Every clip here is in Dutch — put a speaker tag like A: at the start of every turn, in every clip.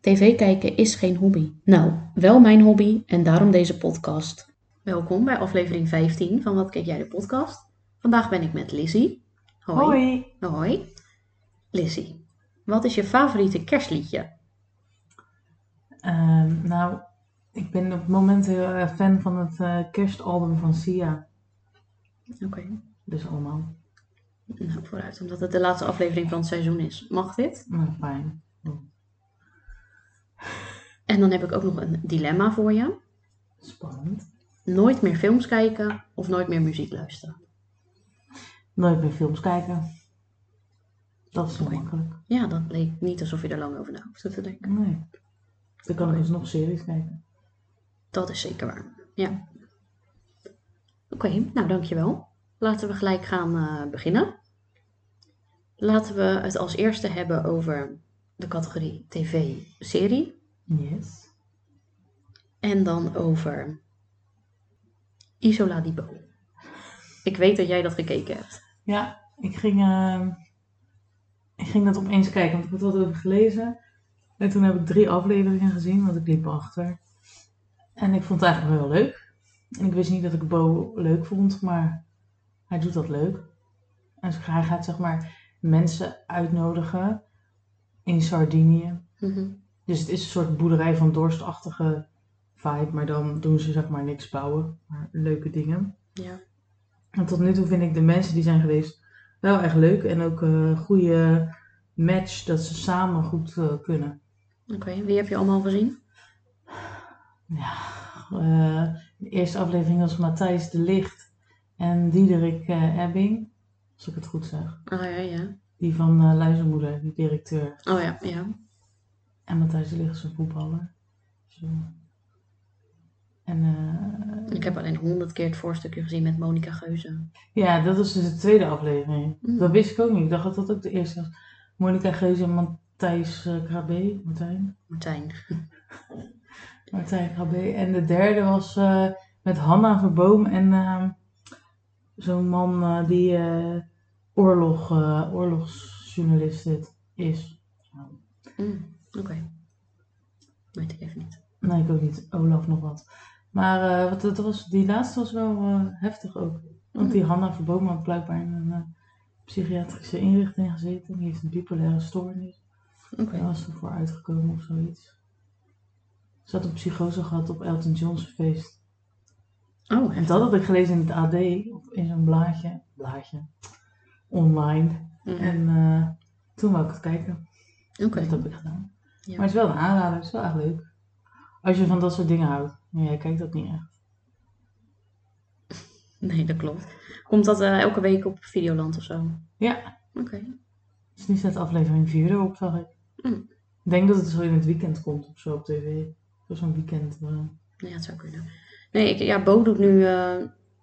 A: TV kijken is geen hobby. Nou, wel mijn hobby en daarom deze podcast. Welkom bij aflevering 15 van Wat Kijk Jij de Podcast. Vandaag ben ik met Lizzie. Hoi.
B: Hoi.
A: Hoi. Lizzie, wat is je favoriete kerstliedje?
B: Ehm, nou, ik ben op het moment heel erg fan van het eh, kerstalbum van Sia.
A: Oké.
B: Dus allemaal.
A: Nou, vooruit, omdat het de laatste aflevering van het seizoen is. Mag dit?
B: Nou, fijn.
A: En dan heb ik ook nog een dilemma voor je.
B: Spannend.
A: Nooit meer films kijken of nooit meer muziek luisteren.
B: Nooit meer films kijken. Dat is zo
A: Oké.
B: makkelijk.
A: Ja, dat leek niet alsof je er lang over na hoeft te denken.
B: Nee. Dan kan ik dus nog series kijken.
A: Dat is zeker waar. Ja. Oké, nou dankjewel. Laten we gelijk gaan eh, beginnen. Laten we het als eerste hebben over de categorie tv-serie.
B: Yes.
A: En dan over Isola di Bo. Ik weet dat jij dat gekeken hebt.
B: Ja, ik ging, eh, ik ging dat opeens kijken, want ik had wat over gelezen. En toen heb ik drie afleveringen gezien, want ik liep achter. En ik vond het eigenlijk wel heel leuk. En ik wist niet dat ik Bo leuk vond, maar hij doet dat leuk. En hij gaat zeg maar mensen uitnodigen in Sardinië.
A: Mhm,
B: Dus het is een soort boerderij van dorstachtige vibe, maar dan doen ze zeg maar niks bouwen, maar leuke dingen.
A: Ja.
B: En tot nu toe vind ik de mensen die zijn geweest wel echt leuk. En ook een goede match dat ze samen goed eh, kunnen.
A: Oké, wie heb je allemaal gezien?
B: Ja, eh, de eerste aflevering was Matthijs de Licht en Diederik eh, Ebbing. Als ik het goed zeg.
A: Oh ja, ja.
B: Die van eh, Luizenmoeder, die directeur.
A: Oh ja, ja.
B: En Matthijs de Licht is een voetballer. Zo. En eh,
A: Ik heb alleen honderd keer het voorstukje gezien met Monica Geuze.
B: Ja, dat is dus de tweede aflevering.
A: Mm.
B: Dat wist ik ook niet. Ik dacht dat dat ook de eerste was. Monica Geuze en Matthijs eh, Krabbe. Martijn?
A: Martijn.
B: Martijn Krabbe. En de derde was eh, met Hanna Verboom en eh, zo'n man eh, die eh, oorlog, eh, oorlogsjournalist dit is.
A: Mm, Oké. Weet ik even niet.
B: Nee, ik ook niet. Olaf nog wat. Maar eh, wat, dat was, die laatste was wel eh, heftig ook. Want die Hanna Verboom had blijkbaar in een eh, psychiatrische inrichting gezeten. Die heeft een bipolaire stoornis.
A: Oké.
B: Hij was ervoor uitgekomen of zoiets. Ze had een psychose gehad op Elton John's feest.
A: Oh,
B: En
A: echt?
B: dat had ik gelezen in het AD, of in zo'n blaadje, blaadje, online.
A: Mm.
B: En eh, toen wou ik het kijken.
A: Oké.
B: Dat heb ik gedaan.
A: Ja.
B: Maar het is wel een aanrader, het is wel echt leuk. Als je van dat soort dingen houdt. Nee, jij kijkt dat niet echt.
A: Nee, dat klopt. Komt dat eh, elke week op Videoland of zo?
B: Ja,
A: Oké.
B: het is niet net aflevering 4 erop, zag ik.
A: Mm.
B: Ik denk dat het zo in het weekend komt of zo op tv. Voor zo'n weekend. eh.
A: Ja, het zou kunnen. Nee, ik, ja, Bo doet nu... eh,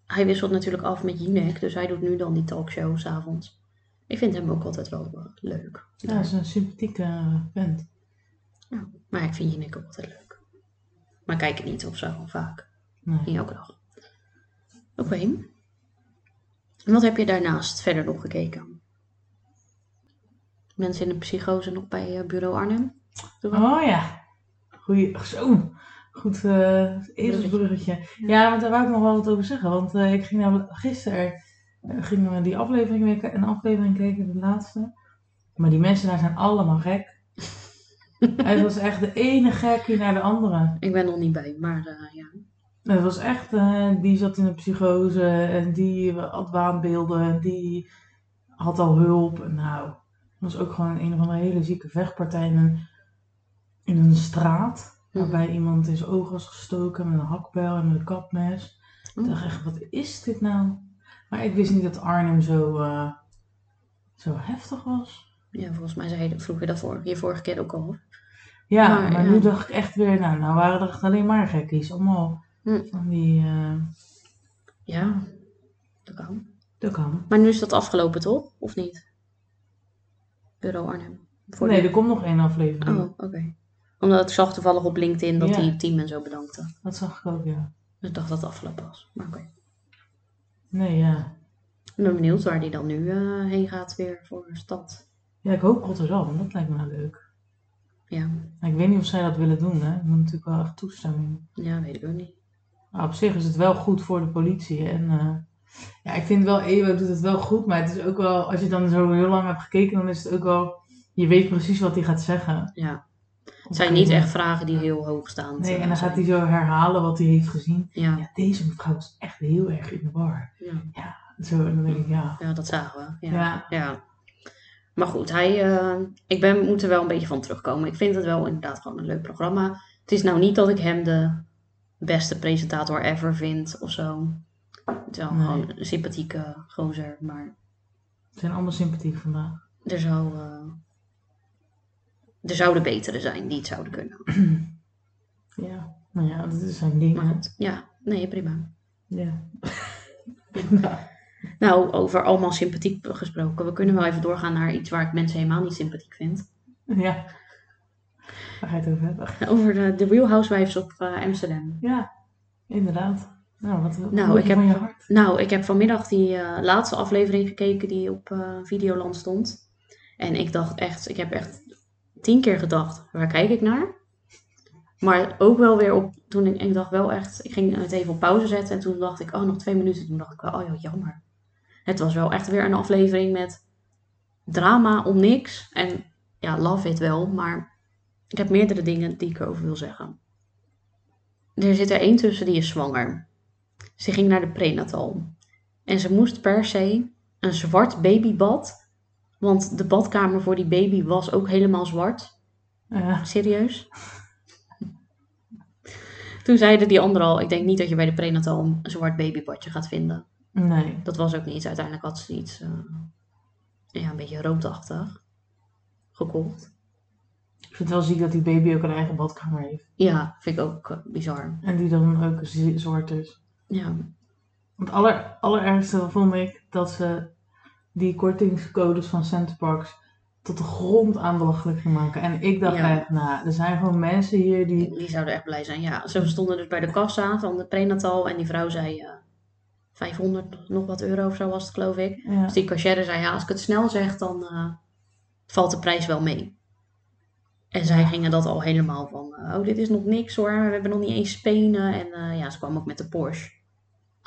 A: hij wisselt natuurlijk af met Jinek, dus hij doet nu dan die talkshow s'avonds. Ik vind hem ook altijd wel eh, leuk.
B: ja, het is een sympathieke eh, vent.
A: Ja, Maar ik vind Jinek ook altijd leuk. Maar ik kijk het niet of zo, vaak.
B: Nee.
A: Niet elke dag. Oké. En wat heb je daarnaast verder nog gekeken? Mensen in de psychose nog bij eh, Bureau Arnhem?
B: Oh ja. Goeie, zo. Goed, eh
A: Bruggetje.
B: even bruggetje. Ja, want daar wou ik nog wel wat over zeggen. Want eh, ik ging namelijk gisteren eh, gingen we die aflevering weer ki- een aflevering kijken, de laatste. Maar die mensen daar zijn allemaal gek. Het was echt de ene gek hier naar de andere.
A: Ik ben er nog niet bij, maar eh, ja.
B: Het was echt, eh, die zat in de psychose en die had waanbeelden en die had al hulp. En nou, het was ook gewoon een of andere hele zieke vechtpartij in een, in een straat.
A: Hm.
B: Waarbij
A: Mhm.
B: iemand in zijn oog was gestoken met een hakbijl en een kapmes. Ik
A: Oh.
B: dacht echt, wat is dit nou? Maar ik wist niet dat Arnhem zo, eh, zo heftig was.
A: Ja, volgens mij zei je, dat- vroeg je dat voor, je vorige keer ook al. hoor.
B: Ja,
A: Maar,
B: maar,
A: ja.
B: nou nu dacht ik echt weer, nou, nou waren er echt alleen maar gekkies. Allemaal
A: Hm.
B: Die, eh,
A: Ja, dat kan.
B: dat kan.
A: Maar nu is dat afgelopen, toch? Of niet? Bureau Arnhem. Voor
B: nee,
A: de-
B: er komt nog één aflevering.
A: Oh, oké. Omdat ik zag toevallig op LinkedIn dat
B: Ja.
A: die het team en zo bedankte.
B: Dat zag ik ook, ja.
A: Dus ik dacht dat het afgelopen was. Maar oké.
B: Nee, ja.
A: Ik ben benieuwd waar die dan nu eh, heen gaat weer voor een stad.
B: Ja, ik hoop Rotterdam. Dat lijkt me nou leuk.
A: Ja,
B: Maar ik weet niet of zij dat willen doen, hè. Ik moet natuurlijk wel echt toestemming.
A: ja weet ik ook niet.
B: Maar Nou, op zich is het wel goed voor de politie. En eh, ja, ik vind wel, EWO doet het wel goed. Maar het is ook wel, als je dan zo heel lang hebt gekeken, dan is het ook wel... Je weet precies wat hij gaat zeggen.
A: Ja. Het zijn niet echt eh, vragen die heel hoog staan.
B: Nee, en dan gaat hij zo herhalen wat hij heeft gezien.
A: Ja,
B: Ja, deze mevrouw is echt heel erg in de war.
A: ja.
B: Zo, en dan denk ik, ja.
A: ja, dat zagen we. Ja. ja.
B: Ja,
A: Maar goed, hij, eh, ik ben, moet er wel een beetje van terugkomen. Ik vind het wel inderdaad gewoon een leuk programma. Het is nou niet dat ik hem de beste presentator ever vind of zo. Het is wel
B: Nee.
A: gewoon een sympathieke gozer. Maar
B: we zijn allemaal sympathiek vandaag.
A: er, zou, eh, er zouden betere zijn die het zouden kunnen.
B: Ja, nou ja, dat is zijn ding.
A: Maar
B: hè.
A: goed, ja, nee, prima.
B: Ja.
A: Nou, over allemaal sympathiek gesproken. We kunnen wel even doorgaan naar iets waar ik mensen helemaal niet sympathiek vind.
B: ja. Waar ga je het over hebben?
A: Over de, de Real Housewives op eh, Amsterdam.
B: Ja, inderdaad. Nou, wat wat
A: Nou,
B: moet
A: ik
B: je
A: heb-
B: van je hart.
A: Nou, ik heb vanmiddag die eh, laatste aflevering gekeken die op eh, Videoland stond. En ik dacht echt, ik heb echt tien keer gedacht, waar kijk ik naar? Maar ook wel weer op, toen ik, ik dacht wel echt, ik ging het even op pauze zetten. En toen dacht ik, oh, nog twee minuten. Toen dacht ik wel, oh ja, jammer. Het was wel echt weer een aflevering met drama om niks. En ja, love it wel, maar ik heb meerdere dingen die ik erover wil zeggen. Er zit er één tussen die is zwanger. Ze ging naar de prenatal. En ze moest per se een zwart babybad. Want de badkamer voor die baby was ook helemaal zwart.
B: Ja,
A: Serieus? Toen zeiden die anderen al, ik denk niet dat je bij de prenatal een zwart babybadje gaat vinden.
B: nee.
A: Dat was ook niet. Uiteindelijk had ze iets, eh, ja, een beetje roodachtig gekocht.
B: Ik vind het wel ziek dat die baby ook een eigen badkamer heeft.
A: Ja, vind ik ook eh, bizar.
B: En die dan ook z- zwart is.
A: Ja,
B: Het aller, allerergste vond ik dat ze die kortingscodes van Centerparks tot de grond aanbelachelijk ging maken. En ik dacht
A: Ja.
B: echt, nou, er zijn gewoon mensen hier die...
A: die zouden echt blij zijn. Ja, ze stonden dus bij de kassa van de prenatal en die vrouw zei eh, 500 nog wat euro of zo was het geloof ik.
B: Ja,
A: Dus die cashier zei, ja, als ik het snel zeg, dan eh, valt de prijs wel mee. En zij gingen dat al helemaal van, eh, oh, dit is nog niks hoor, we hebben nog niet eens spenen. En eh, ja, ze kwam ook met de Porsche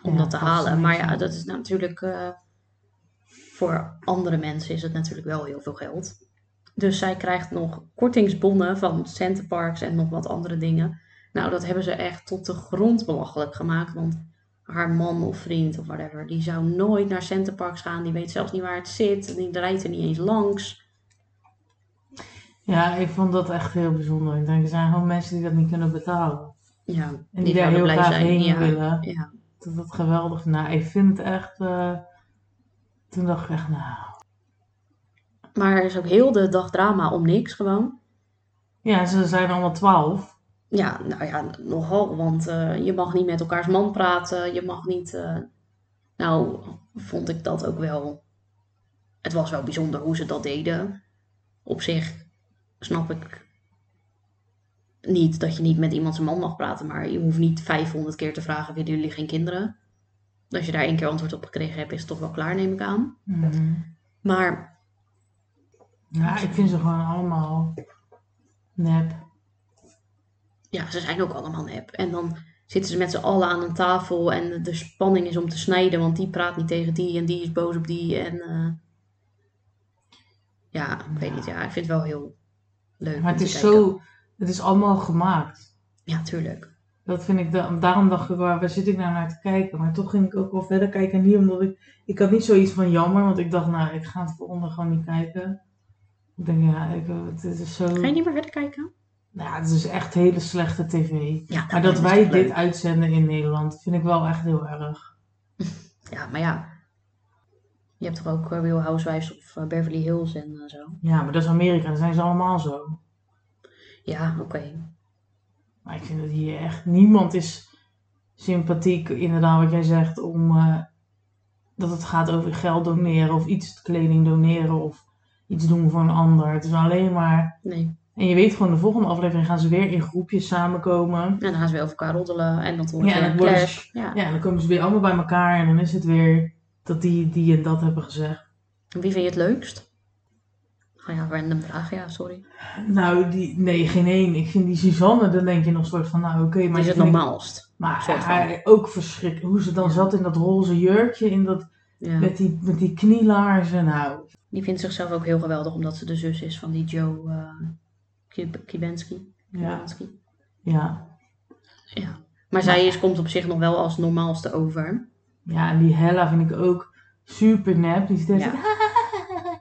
A: om
B: Ja,
A: dat te
B: dat is
A: halen.
B: niks,
A: Maar
B: hè.
A: ja, dat is natuurlijk, eh, voor andere mensen is het natuurlijk wel heel veel geld. Dus zij krijgt nog kortingsbonnen van Centerparks en nog wat andere dingen. Nou, dat hebben ze echt tot de grond belachelijk gemaakt. Want haar man of vriend of whatever, die zou nooit naar Centerparks gaan. Die weet zelfs niet waar het zit. en Die rijdt er niet eens langs.
B: ja, ik vond dat echt heel bijzonder. Ik denk, er zijn gewoon mensen die dat niet kunnen betalen.
A: Ja,
B: En die, daar
A: zouden
B: heel graag heen
A: Ja,
B: willen.
A: ja.
B: Dat dat geweldig. Nou, ik vind het echt... eh, Toen dacht ik echt, nou...
A: Maar er is ook heel de dag drama om niks gewoon.
B: Ja, ze zijn allemaal twaalf.
A: Ja, nou ja, nogal. Want eh, je mag niet met elkaars man praten. Je mag niet. eh, Nou, vond ik dat ook wel. Het was wel bijzonder hoe ze dat deden. Op zich snap ik niet dat je niet met iemand zijn man mag praten. Maar je hoeft niet 500 keer te vragen: willen jullie geen kinderen? Als je daar één keer antwoord op gekregen hebt, is het toch wel klaar, neem ik aan. Mhm. Maar
B: Ja, ik vind ze gewoon allemaal nep.
A: ja, ze zijn ook allemaal nep. En dan zitten ze met z'n allen aan een tafel en de- de spanning is om te snijden, want die praat niet tegen die en die is boos op die. En eh, ja, ik weet niet. Ja, ik vind het wel heel leuk.
B: Maar
A: om
B: het
A: te
B: is
A: kijken.
B: zo... Het is allemaal gemaakt.
A: Ja, tuurlijk.
B: Dat vind ik... da- daarom dacht ik, waar, waar zit ik nou naar te kijken? Maar toch ging ik ook wel verder kijken. En niet omdat ik... Ik had niet zoiets van jammer. Want ik dacht, nou, ik ga het volgende gewoon niet kijken. Ik denk, ja, ik, eh, het is zo...
A: Ga je niet meer verder kijken?
B: Nou, het is echt hele slechte tv.
A: Ja, nou,
B: Maar dat
A: is
B: wij
A: toch leuk.
B: dit uitzenden in Nederland vind ik wel echt heel erg.
A: Ja, maar ja. Je hebt toch ook eh, Real Housewives of eh, Beverly Hills en eh, zo.
B: Ja, maar dat is Amerika, dan zijn ze allemaal zo.
A: Ja, oké.
B: Maar ik vind dat hier echt niemand is sympathiek, inderdaad, wat jij zegt, om eh, dat het gaat over geld doneren of iets kleding doneren of iets doen voor een ander. Het is alleen maar.
A: Nee. Nou,
B: En je weet gewoon, de volgende aflevering gaan ze weer in groepjes samenkomen.
A: En dan gaan ze weer over elkaar roddelen en dat wordt
B: Ja,
A: weer
B: en
A: een
B: het wordt-
A: clash. Ja.
B: Ja, en dan komen ze weer allemaal bij elkaar en dan is het weer dat die, die en dat hebben gezegd.
A: En Wie vind je het leukst? Oh ja, random vraag, ja, sorry.
B: Nou, die, nee, geen één. Ik vind die Suzanne, dan denk je nog soort van, nou oké, maar
A: Maar is
B: die
A: het
B: vind ik-
A: normaalst?
B: Maar
A: Soort van.
B: haar ook verschrikkelijk. Hoe ze dan
A: Ja.
B: zat in dat roze jurkje, in dat,
A: Ja.
B: met, die, met die knielaarzen. Nou,
A: Die vindt zichzelf ook heel geweldig omdat ze de zus is van die Joe eh, Kib- Kibensky.
B: ja.
A: Kibanski.
B: ja.
A: Maar zij is, komt op zich nog wel als normaalste over.
B: Ja, en die Hella vind ik ook super nep. Die zit de hele
A: Ja.
B: tijd,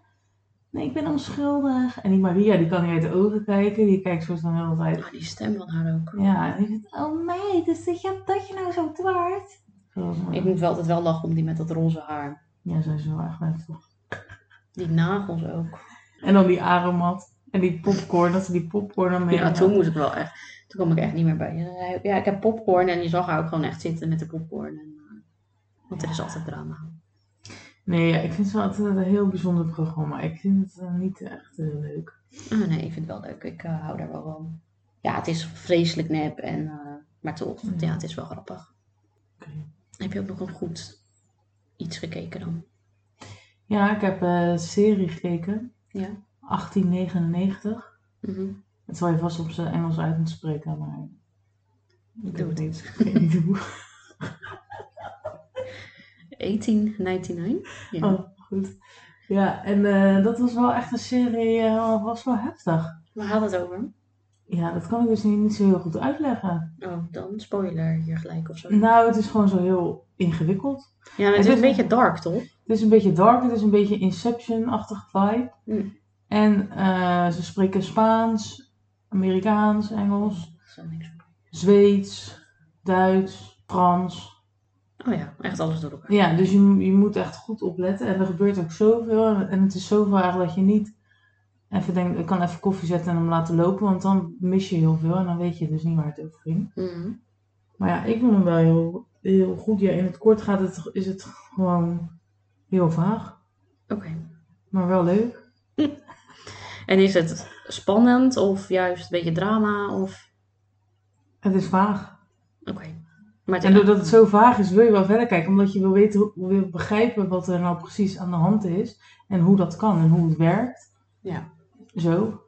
B: Nee, ik ben onschuldig. En die Maria, die kan niet uit de ogen kijken. Die kijkt soort van de hele tijd.
A: Maar die stem van haar ook.
B: Ja, en die zegt, oh meid, dus dat je, dat je nou zo dwaart. Zo, maar-
A: Ik moet wel altijd wel lachen om die met dat roze haar.
B: Ja, zo is wel echt leuk. toch?
A: Die nagels ook.
B: En dan die aromat. En die popcorn, dat ze die popcorn dan mee
A: Ja, toen moest ik wel echt. Toen kwam ik echt niet meer bij. Ze zei, Ja, ik heb popcorn en je zag haar ook gewoon echt zitten met de popcorn. En, eh, want er is altijd drama.
B: Nee, ja, ik vind ze altijd een heel bijzonder programma. Ik vind het eh, niet echt heel leuk.
A: Ah, nee, ik vind het wel leuk. Ik eh, hou daar wel van. Ja, het is vreselijk nep. En, eh, maar toch,
B: Ja.
A: ja, het is wel grappig.
B: Oké.
A: Heb je ook nog een goed iets gekeken dan?
B: Ja, ik heb eh, een serie gekeken.
A: Ja.
B: 1899.
A: Mhm.
B: Het zal je vast op zijn Engels uit moeten spreken, maar. Ik
A: Doe
B: weet
A: het.
B: niet. Ik weet niet hoe.
A: 1899? Ja.
B: Oh, goed. Ja, en eh, dat was wel echt een serie, eh, was wel heftig.
A: Waar gaat het over?
B: Ja, dat kan ik dus niet, niet zo heel goed uitleggen.
A: Oh, dan spoiler hier gelijk of zo.
B: Nou, het is gewoon zo heel ingewikkeld.
A: ja, maar het is
B: het is
A: een beetje dark, toch?
B: Het is een beetje dark, het is een beetje Inception-achtig vibe.
A: Mm.
B: En eh, ze spreken Spaans, Amerikaans, Engels,
A: Dat is wel niks.
B: Zweeds, Duits, Frans.
A: Oh ja, echt alles door elkaar.
B: Ja, dus je, je moet echt goed opletten. En er gebeurt ook zoveel. En- En het is zoveel eigenlijk dat je niet even denkt, ik kan even koffie zetten en hem laten lopen. Want dan mis je heel veel en dan weet je dus niet waar het over ging.
A: Mhm.
B: Maar ja, ik vond hem wel heel, heel goed. Ja, in het kort gaat het, is het gewoon heel vaag.
A: Oké.
B: Maar wel leuk.
A: En is het spannend of juist een beetje drama? Of...
B: Het is vaag.
A: Oké. Maar het
B: En doordat het zo vaag is, wil je wel verder kijken. Omdat je wil weten, hoe- wil begrijpen wat er nou precies aan de hand is. En hoe dat kan en hoe het werkt.
A: Ja.
B: Zo.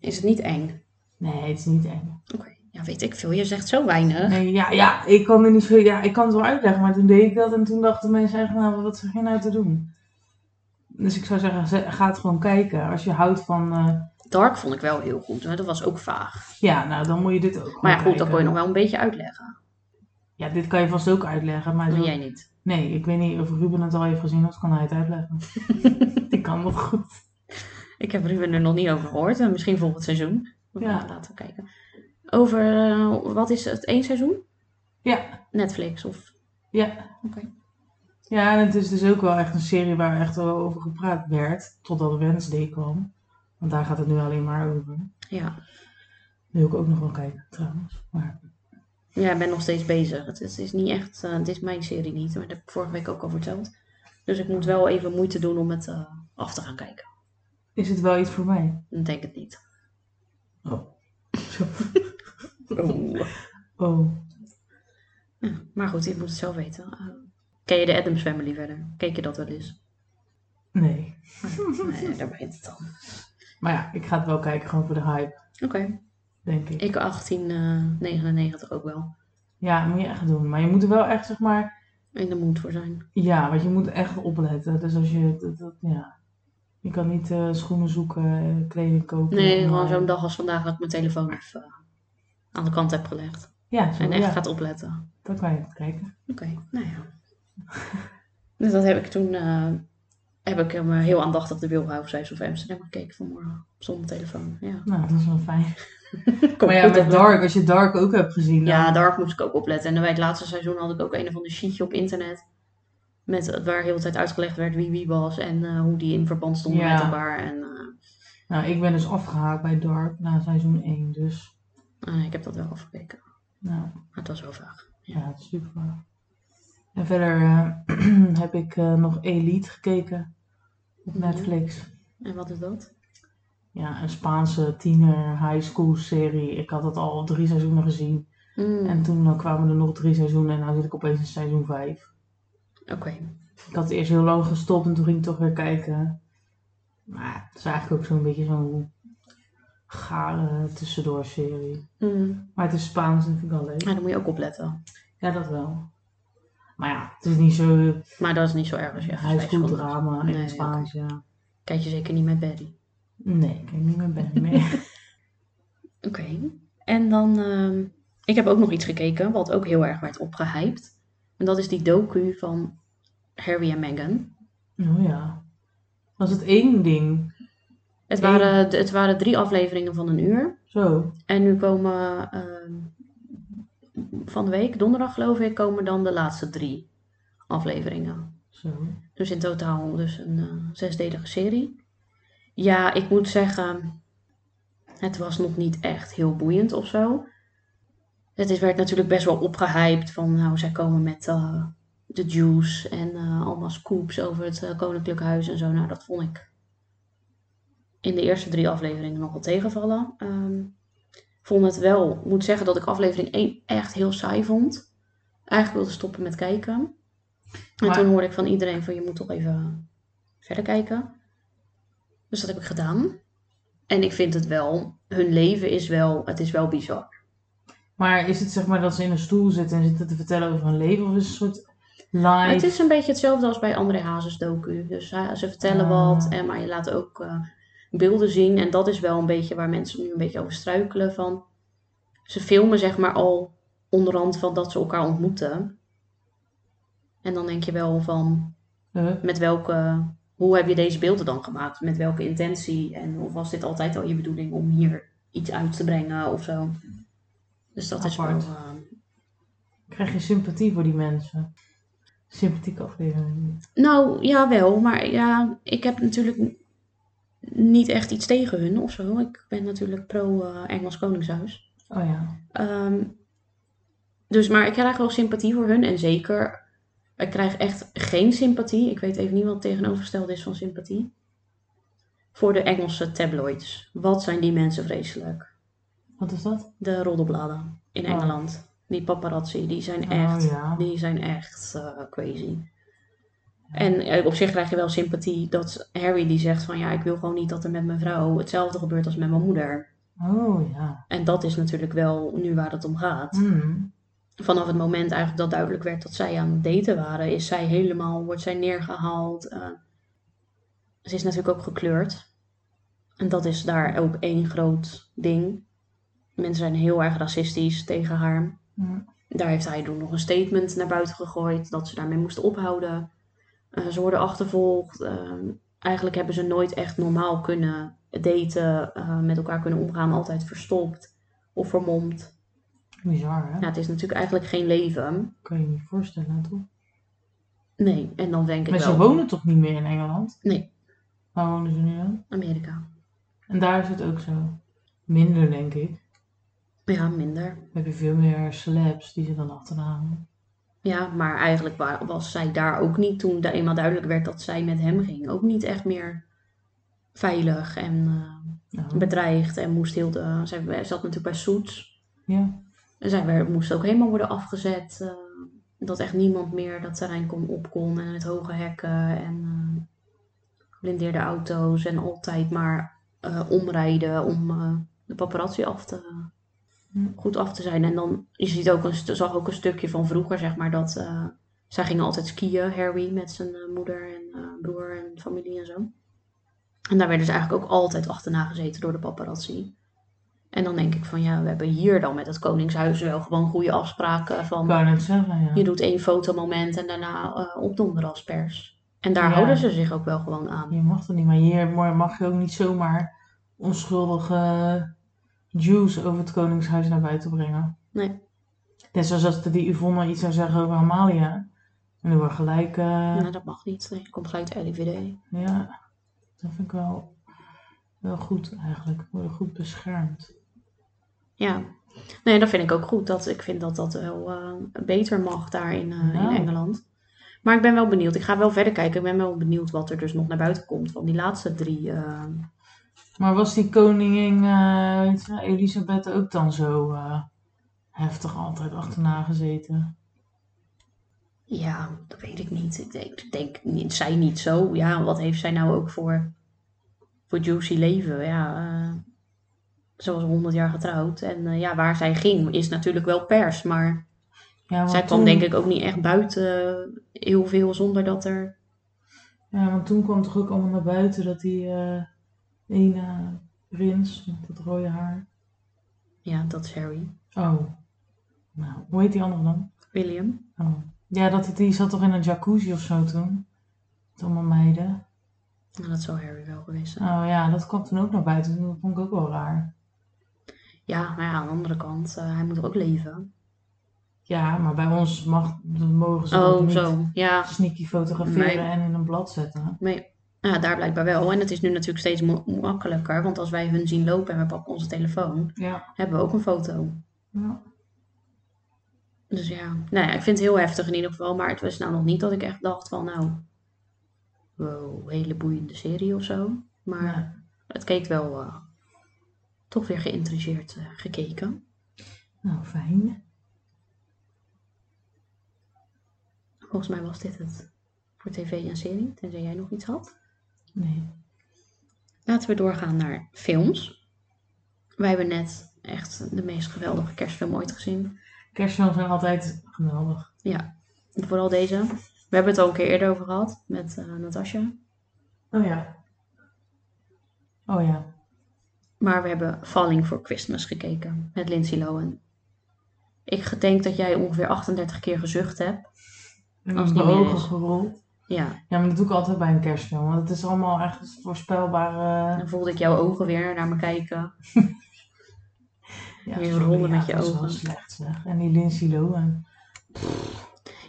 A: is het niet eng?
B: Nee, het is niet eng.
A: Oké. Ja, weet ik veel. Je zegt zo weinig.
B: Nee, ja, ja, ik kan er niet veel, ja, ik kan het wel uitleggen, maar toen deed ik dat en toen dachten mensen echt, nou, wat zeg je nou te doen? Dus ik zou zeggen, ze- ga het gewoon kijken. Als je houdt van, eh,
A: Dark vond ik wel heel goed, maar dat was ook vaag.
B: ja, nou, dan moet je dit ook gewoon
A: Maar ja, goed, dat
B: kijken.
A: kon je nog wel een beetje uitleggen.
B: Ja, dit kan je vast ook uitleggen, maar
A: Maar
B: zo-
A: jij niet.
B: nee, ik weet niet of Ruben het al heeft gezien, dat kan hij het uitleggen. Die kan dat goed.
A: Ik heb Ruben er nog niet over gehoord. Eh, Misschien volgend seizoen. We
B: Ja.
A: gaan laten kijken. Over, eh, wat is het, één seizoen?
B: Ja.
A: Netflix of...
B: Ja.
A: Oké.
B: Ja, en het is dus ook wel echt een serie waar echt wel over gepraat werd, totdat Wednesday kwam. Want daar gaat het nu alleen maar over.
A: Ja.
B: Wil ik ook nog wel kijken, trouwens. Maar...
A: ja, ik ben nog steeds bezig. Het is, het is niet echt, eh dit is mijn serie niet. Maar dat heb ik vorige week ook al verteld. Dus ik moet wel even moeite doen om het eh, af te gaan kijken.
B: Is het wel iets voor mij?
A: Ik denk het niet.
B: Oh.
A: Oeh.
B: Oh.
A: Ja, maar goed, je moet het zelf weten. Eh, ken je de Addams Family verder? Keek je dat wel eens?
B: Nee.
A: Nee, daar begint het dan.
B: Maar ja, ik ga het wel kijken, gewoon voor de hype,
A: Oké,
B: denk ik.
A: ik 1899 ook wel.
B: Ja, moet je echt doen. Maar je moet er wel echt, zeg maar...
A: In de moed voor zijn.
B: Ja, want je moet echt opletten. Dus als je... Dat, dat- ja. Je kan niet eh, schoenen zoeken, eh, kleding kopen. eh,
A: Nee,
B: online.
A: gewoon zo'n dag als vandaag dat ik mijn telefoon even eh, aan de kant heb gelegd.
B: Ja, zo,
A: En echt
B: ja,
A: gaat opletten.
B: dan kan je het kijken.
A: Oké, nou ja. dus dat heb ik toen... eh, heb ik hem eh, heel aandachtig de Wilhelmshuis of Amsterdam gekeken vanmorgen. Op zonder telefoon, ja.
B: Nou, dat is wel fijn.
A: Kom
B: maar ja,
A: goed
B: met
A: op.
B: Dark, als je Dark ook hebt gezien...
A: Ja,
B: dan-
A: daar moest ik ook opletten. En bij het laatste seizoen had ik ook een of ander sheetje op internet. Met, eh, waar heel de hele tijd uitgelegd werd wie wie was. En eh, hoe die in verband stonden
B: Ja.
A: met elkaar. En eh,
B: Nou, ik ben dus afgehaakt bij Dark na seizoen 1, dus...
A: eh, ik heb dat wel afgekeken.
B: Nou,
A: Maar het was wel vaag.
B: Ja, super. En verder eh, heb ik eh, nog Elite gekeken op Netflix.
A: En wat is dat?
B: Ja, een Spaanse tiener high school serie. Ik had het al drie seizoenen gezien. En toen eh, kwamen er nog drie seizoenen en nu zit ik opeens in seizoen vijf.
A: Oké.
B: Ik had eerst heel lang gestopt en toen ging ik toch weer kijken. Maar het is eigenlijk ook zo'n beetje zo'n gare tussendoor serie.
A: Mm.
B: Maar het is Spaans en dat vind ik wel leuk.
A: Maar daar moet je ook op letten.
B: Ja, dat wel. Maar ja, het is niet zo
A: Maar dat is niet zo erg als je even
B: high
A: vijf
B: school
A: seconden-
B: drama in
A: Nee,
B: het Spaans, ja.
A: Kijk je zeker niet met Betty.
B: Nee, ik heb niet meer ben meer.
A: Oké. En dan, ehm, ik heb ook nog iets gekeken wat ook heel erg werd opgehyped. En dat is die docu van Harry en Meghan.
B: oh ja. Was het één ding?
A: Het
B: Eén.
A: waren, het waren drie afleveringen van een uur.
B: Zo.
A: En nu komen ehm, van de week, donderdag geloof ik, komen dan de laatste drie afleveringen.
B: Zo.
A: Dus in totaal dus een eh, zesdelige serie. Ja, ik moet zeggen, het was nog niet echt heel boeiend of zo. Het is, werd natuurlijk best wel opgehyped van, nou, zij komen met eh, de juice en eh, allemaal scoops over het eh, Koninklijk Huis en zo. Nou, dat vond ik in de eerste drie afleveringen nog wel tegenvallen. Ehm, vond het wel, moet zeggen dat ik aflevering 1 echt heel saai vond. Eigenlijk wilde stoppen met kijken. En
B: Maar-
A: toen hoorde ik van iedereen van je moet toch even verder kijken. Dus dat heb ik gedaan. En ik vind het wel, hun leven is wel, het is wel bizar.
B: Maar is het zeg maar dat ze in een stoel zitten en zitten te vertellen over hun leven? Of is het een soort
A: Maar het
B: live?
A: is een beetje hetzelfde als bij André Hazes docu. Dus hè, ze vertellen
B: Ah.
A: wat, en, maar je laat ook eh, beelden zien. En dat is wel een beetje waar mensen nu een beetje over struikelen. Van, ze filmen zeg maar al onderhand van dat ze elkaar ontmoeten. En dan denk je wel van,
B: Huh?
A: met welke, hoe heb je deze beelden dan gemaakt? Met welke intentie? En of was dit altijd al je bedoeling om hier iets uit te brengen of zo? Dus dat is wel...
B: Apart.
A: eh,
B: Krijg je sympathie voor die mensen? Sympathieke aflevering.
A: nou, ja wel, maar ja, ik heb natuurlijk n- niet echt iets tegen hun of zo. Ik ben natuurlijk pro-Engels Koningshuis.
B: Oh ja.
A: Ehm, dus, maar ik krijg wel sympathie voor hun. En zeker, ik krijg echt geen sympathie. Ik weet even niet wat het tegenovergestelde is van sympathie. Voor de Engelse tabloids. Wat zijn die mensen vreselijk.
B: Wat is dat?
A: De roddelbladen in
B: Oh.
A: Engeland. Die paparazzi, die zijn echt,
B: Oh ja.
A: die zijn echt eh, crazy. En eh, op zich krijg je wel sympathie dat Harry die zegt van ja, ik wil gewoon niet dat er met mijn vrouw hetzelfde gebeurt als met mijn moeder.
B: Oh ja.
A: En dat is natuurlijk wel nu waar het om gaat
B: Hmm.
A: vanaf het moment eigenlijk dat duidelijk werd dat zij aan het daten waren, is zij helemaal, wordt zij neergehaald. eh. ze is natuurlijk ook gekleurd. En dat is daar ook één groot ding. Mensen zijn heel erg racistisch tegen haar.
B: Ja.
A: Daar heeft hij toen nog een statement naar buiten gegooid dat ze daarmee moesten ophouden. Eh, ze worden achtervolgd. eh, eigenlijk hebben ze nooit echt normaal kunnen daten, eh, met elkaar kunnen omgaan, altijd verstopt of vermomd.
B: Bizar hè?
A: Ja, het is natuurlijk eigenlijk geen leven.
B: Kan je je niet voorstellen toch?
A: Nee, en dan denk ik
B: Maar ze
A: wel
B: wonen toch niet meer in Engeland?
A: Nee.
B: Waar wonen ze nu dan?
A: Amerika.
B: En daar is het ook zo. Minder denk ik.
A: Ja, minder.
B: Dan heb je veel meer celebs die ze dan achterna hangen.
A: Ja, maar eigenlijk wa- was zij daar ook niet toen daar eenmaal duidelijk werd dat zij met hem ging. Ook niet echt meer veilig en eh,
B: Nou,
A: bedreigd en moest heel de... Zij zat natuurlijk bij Soets.
B: ja.
A: En zij werd, moest ook helemaal worden afgezet. eh, dat echt niemand meer dat terrein kon op kon. En het hoge hekken en eh, geblindeerde auto's. En altijd maar eh, omrijden om eh, de paparazzi af te...
B: Hm.
A: goed af te zijn. En dan, je ziet ook een, st- zag ook een stukje van vroeger, zeg maar, dat eh, zij gingen altijd skiën, Harry met zijn eh, moeder en eh, broer en familie en zo. En daar werden ze eigenlijk ook altijd achterna gezeten door de paparazzi. En dan denk ik van ja, we hebben hier dan met het Koningshuis wel gewoon goede afspraken
B: Ik
A: van
B: wou net zeggen ja.
A: je doet één fotomoment en daarna eh opdonderen als pers. En daar
B: Ja.
A: houden ze zich ook wel gewoon aan.
B: Je mag dat niet, maar hier mag je ook niet zomaar onschuldige Jews over het Koningshuis naar buiten brengen.
A: Nee.
B: Net zoals als de- die Yvonne iets zou zeggen over Amalia. En dan wordt gelijk. eh,
A: Nou, dat mag niet. Nee, je komt gelijk de LIVD.
B: ja. dat vind ik wel, wel goed eigenlijk. We worden goed beschermd.
A: Ja. Nee, dat vind ik ook goed. Dat, ik vind dat dat wel eh, beter mag daar in, eh,
B: Nou.
A: in Engeland. Maar ik ben wel benieuwd. Ik ga wel verder kijken. Ik ben wel benieuwd wat er dus nog naar buiten komt van die laatste drie. eh,
B: Maar was die koningin eh, weet je wel, Elisabeth ook dan zo eh, heftig altijd achterna gezeten?
A: Ja, dat weet ik niet. Ik denk, ik denk niet, zij niet zo. Ja, wat heeft zij nou ook voor, voor juicy leven? Ja, eh, ze was 100 jaar getrouwd. En eh, ja, waar zij ging is natuurlijk wel pers. Maar
B: Ja, want
A: zij kwam
B: toen-
A: denk ik ook niet echt buiten heel veel zonder dat er...
B: Ja, want toen kwam toch ook allemaal naar buiten dat die eh ene prins met dat rode haar.
A: Ja, dat is Harry.
B: Oh, nou, hoe heet die andere dan?
A: William.
B: Oh. Ja, dat, die zat toch in een jacuzzi of zo toen? Met allemaal meiden.
A: Nou, dat zou Harry wel geweest zijn.
B: Oh ja, dat kwam toen ook naar buiten. Dat vond ik ook wel raar.
A: Ja, maar ja, aan de andere kant, eh, hij moet er ook leven.
B: Ja, maar bij ons mag, dan mogen ze dat
A: Oh,
B: niet
A: zo. Ja,
B: sneaky fotograferen
A: Nee.
B: en in een blad zetten.
A: Ja, daar blijkbaar wel. En het is nu natuurlijk steeds mo- makkelijker. Want als wij hun zien lopen en we pakken onze telefoon,
B: Ja.
A: hebben we ook een foto.
B: ja.
A: Dus ja, nou ja, ik vind het heel heftig in ieder geval. Maar het was nou nog niet dat ik echt dacht van nou, wow, hele boeiende serie of zo. Maar
B: Nee.
A: het keek wel eh, toch weer geïntrigeerd eh, gekeken.
B: Nou, fijn.
A: Volgens mij was dit het voor tv en serie, tenzij jij nog iets had.
B: Nee.
A: Laten we doorgaan naar films. Wij hebben net echt de meest geweldige kerstfilm ooit gezien.
B: Kerstfilms zijn altijd geweldig.
A: Ja, vooral deze. We hebben het al een keer eerder over gehad met eh, Natasja.
B: Oh ja. Oh ja.
A: Maar we hebben Falling for Christmas gekeken met Lindsay Lohan. Ik denk dat jij ongeveer 38 keer gezucht hebt.
B: En
A: Als het
B: mijn
A: niet meer
B: ogen
A: is.
B: gerold.
A: Ja,
B: Ja, maar dat doe ik altijd bij een kerstfilm. Want het is allemaal echt voorspelbare...
A: dan voelde ik jouw ogen weer naar me kijken.
B: Ja,
A: Je rollen met je
B: dat is wel
A: ogen.
B: slecht zeg. En die Lindsay Lohan.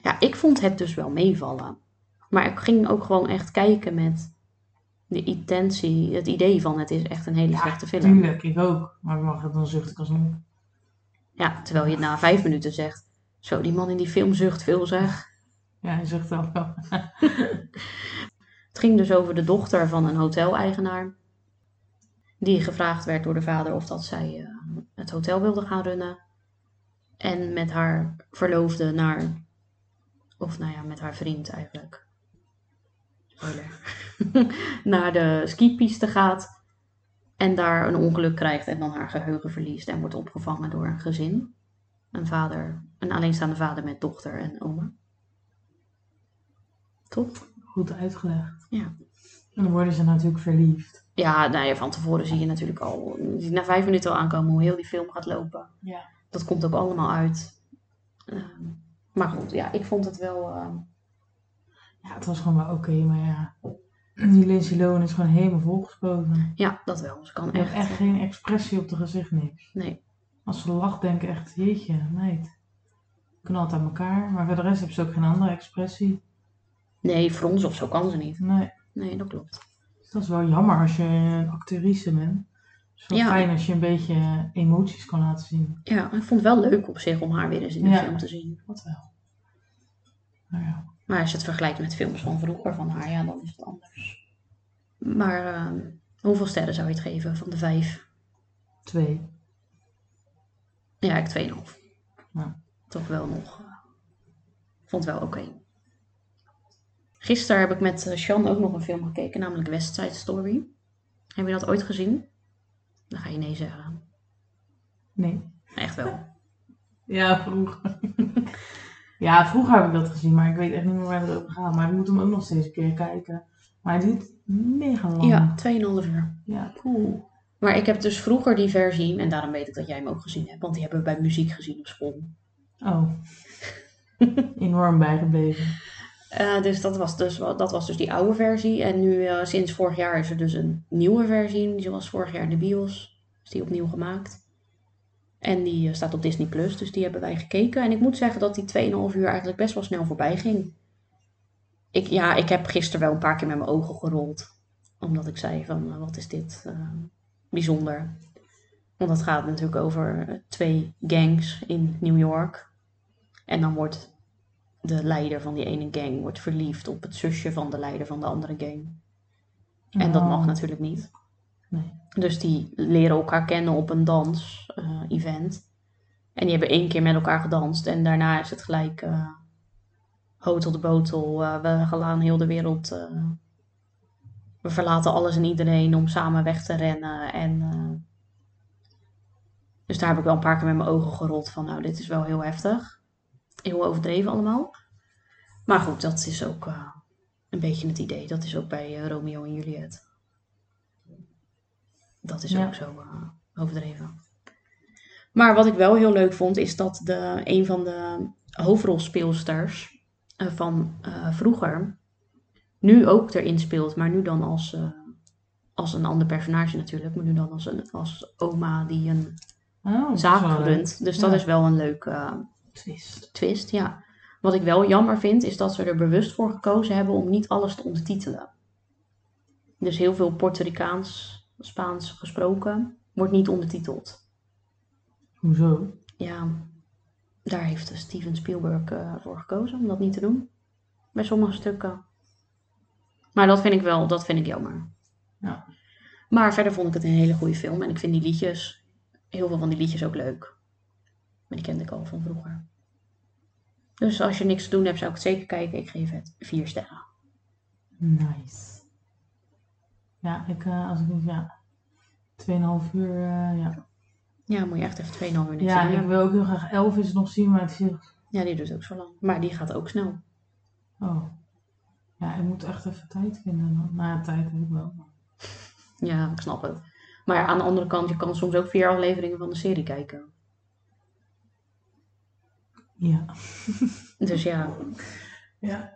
A: Ja, ik vond het dus wel meevallen. Maar ik ging ook gewoon echt kijken met de intentie, het idee van het is echt een hele
B: Ja,
A: slechte film.
B: Tuurlijk, ik ook. Maar ik mag het dan zucht ik alsnog.
A: Ja, terwijl je het na vijf minuten zegt, zo die man in die film zucht veel zeg.
B: Ja, hij zucht wel wel.
A: Het ging dus over de dochter van een hoteleigenaar. Die gevraagd werd door de vader of dat zij eh, het hotel wilde gaan runnen. En met haar verloofde naar. Of nou ja, met haar vriend eigenlijk. Spoiler. naar de skipiste gaat. En daar een ongeluk krijgt en dan haar geheugen verliest. En wordt opgevangen door een gezin. Een vader, een alleenstaande vader met dochter en oma. Toch?
B: Goed uitgelegd.
A: Ja.
B: En dan worden ze natuurlijk verliefd.
A: Ja, nou ja, van tevoren zie je natuurlijk al, je ziet na vijf minuten al aankomen hoe heel die film gaat lopen.
B: Ja.
A: Dat komt ook allemaal uit. Ehm, maar goed, ja, ik vond het wel. ehm,
B: Ja, het was gewoon wel oké, maar ja. Die Lindsay Lohan is gewoon helemaal volgespoten.
A: ja, dat wel. Ze kan
B: Er is
A: echt.
B: echt geen expressie op de gezicht, niks.
A: Nee.
B: Als ze lacht, denk ik echt, jeetje, meid. Knalt aan elkaar. Maar voor de rest hebben ze ook geen andere expressie.
A: Nee, frons of zo kan ze niet.
B: Nee.
A: Nee, dat klopt.
B: Dus dat is wel jammer als je een actrice bent. Het is wel
A: Ja.
B: fijn als je een beetje emoties kan laten zien.
A: Ja, ik vond het wel leuk op zich om haar weer eens in de
B: Ja.
A: film te zien.
B: Wat wel. Nou ja.
A: Maar als je het vergelijkt met films van vroeger van haar, ja, dan is het anders. Maar ehm, hoeveel sterren zou je het geven van de vijf?
B: Twee.
A: Ja, ik 2,5.
B: Ja.
A: Toch wel nog. eh, Vond wel oké. Gisteren heb ik met eh, Sjan ook nog een film gekeken, namelijk West Side Story. Heb je dat ooit gezien? Dan ga je nee zeggen.
B: Nee.
A: Echt wel.
B: Ja, vroeger. ja, vroeger heb ik dat gezien, maar ik weet echt niet meer waar het over gaat. Maar ik moet hem ook nog steeds een keer kijken. Maar hij duurt mega lang.
A: Ja, 2,5 uur.
B: Ja, cool.
A: Maar ik heb dus vroeger die versie, en daarom weet ik dat jij hem ook gezien hebt, want die hebben we bij muziek gezien op school.
B: Oh. Enorm bijgebleven.
A: Eh, dus, dat was dus wa- dat was dus die oude versie. En nu eh, sinds vorig jaar is er dus een nieuwe versie. Die was vorig jaar in de bios. Is die opnieuw gemaakt. En die eh, staat op Disney Plus. Dus die hebben wij gekeken. En ik moet zeggen dat die 2,5 uur eigenlijk best wel snel voorbij ging. Ik, ja, ik heb gisteren wel een paar keer met mijn ogen gerold. Omdat ik zei van eh, wat is dit eh, bijzonder. Want dat gaat natuurlijk over eh, twee gangs in New York. En dan wordt de leider van die ene gang wordt verliefd op het zusje van de leider van de andere gang. En dat mag natuurlijk niet.
B: Nee.
A: Dus die leren elkaar kennen op een dans-event. en die hebben één keer met elkaar gedanst. En daarna is het gelijk eh hotel de botel. eh, we gaan aan heel de wereld. eh, we verlaten alles en iedereen om samen weg te rennen. En, eh, dus daar heb ik wel een paar keer met mijn ogen gerold van nou, dit is wel heel heftig. Heel overdreven allemaal. Maar goed, dat is ook eh, een beetje het idee. Dat is ook bij eh, Romeo en Juliet. Dat is
B: Ja.
A: ook zo eh, overdreven. Maar wat ik wel heel leuk vond, is dat de, een van de hoofdrolspeelsters eh, van eh, vroeger nu ook erin speelt. Maar nu dan als, eh, als een ander personage natuurlijk. Maar nu dan als, een, als oma die een
B: Oh, dat is wel
A: zaak
B: leuk.
A: runt. Dus dat
B: Ja.
A: is wel een leuke eh,
B: Twist.
A: twist, ja. Wat ik wel jammer vind, is dat ze er bewust voor gekozen hebben om niet alles te ondertitelen. Dus heel veel Puerto Ricaans, Spaans gesproken, wordt niet ondertiteld.
B: Hoezo?
A: Ja, daar heeft dus Steven Spielberg eh, voor gekozen om dat niet te doen. Bij sommige stukken. Maar dat vind ik wel, dat vind ik jammer.
B: Ja.
A: Maar verder vond ik het een hele goede film. En ik vind die liedjes, heel veel van die liedjes ook leuk. Maar die kende ik al van vroeger. Dus als je niks te doen hebt, zou ik het zeker kijken. Ik geef het vier sterren.
B: Nice. Ja, ik, eh, als ik niet, ja. 2,5 uur, eh, ja.
A: Ja, moet je echt even 2,5 uur niks
B: Ja,
A: aan
B: ik
A: doen.
B: wil ook heel graag Elvis nog zien, maar het is heel...
A: Ja, die duurt ook zo lang. Maar die gaat ook snel.
B: Oh. Ja, ik moet echt even tijd vinden. dan. Nou, ja, tijd heb ik wel.
A: Ja, ik snap het. Maar aan de andere kant, je kan soms ook vier afleveringen van de serie kijken.
B: Ja.
A: Dus ja,
B: Ja.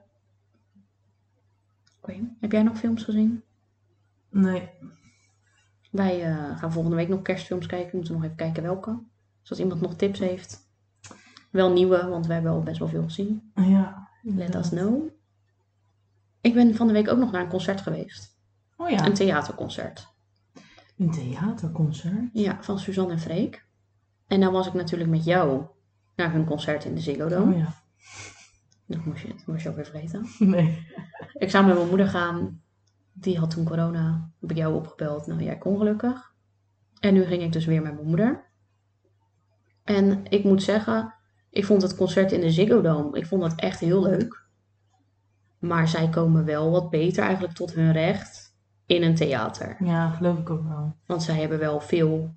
A: oké. Heb jij nog films gezien?
B: Nee.
A: Wij eh, gaan volgende week nog kerstfilms kijken. We moeten nog even kijken welke. Dus als iemand nog tips heeft. Wel nieuwe, want we hebben al best wel veel gezien.
B: Ja.
A: Let
B: inderdaad.
A: us know. Ik ben van de week ook nog naar een concert geweest.
B: Oh ja,
A: Een theaterconcert.
B: een theaterconcert.
A: Ja, van Suzanne en Freek. En dan was ik natuurlijk met jou naar hun concert in de Ziggo Dome.
B: Oh ja.
A: Dat moest je, dat moest je ook weer vergeten.
B: Nee.
A: Ik zou met mijn moeder gaan. Die had toen corona. Heb ik jou opgebeld. Nou, jij kon gelukkig. En nu ging ik dus weer met mijn moeder. En ik moet zeggen, ik vond het concert in de Ziggo Dome, ik vond dat echt heel leuk. Maar zij komen wel wat beter eigenlijk tot hun recht in een theater.
B: Ja, geloof ik ook wel.
A: Want zij hebben wel veel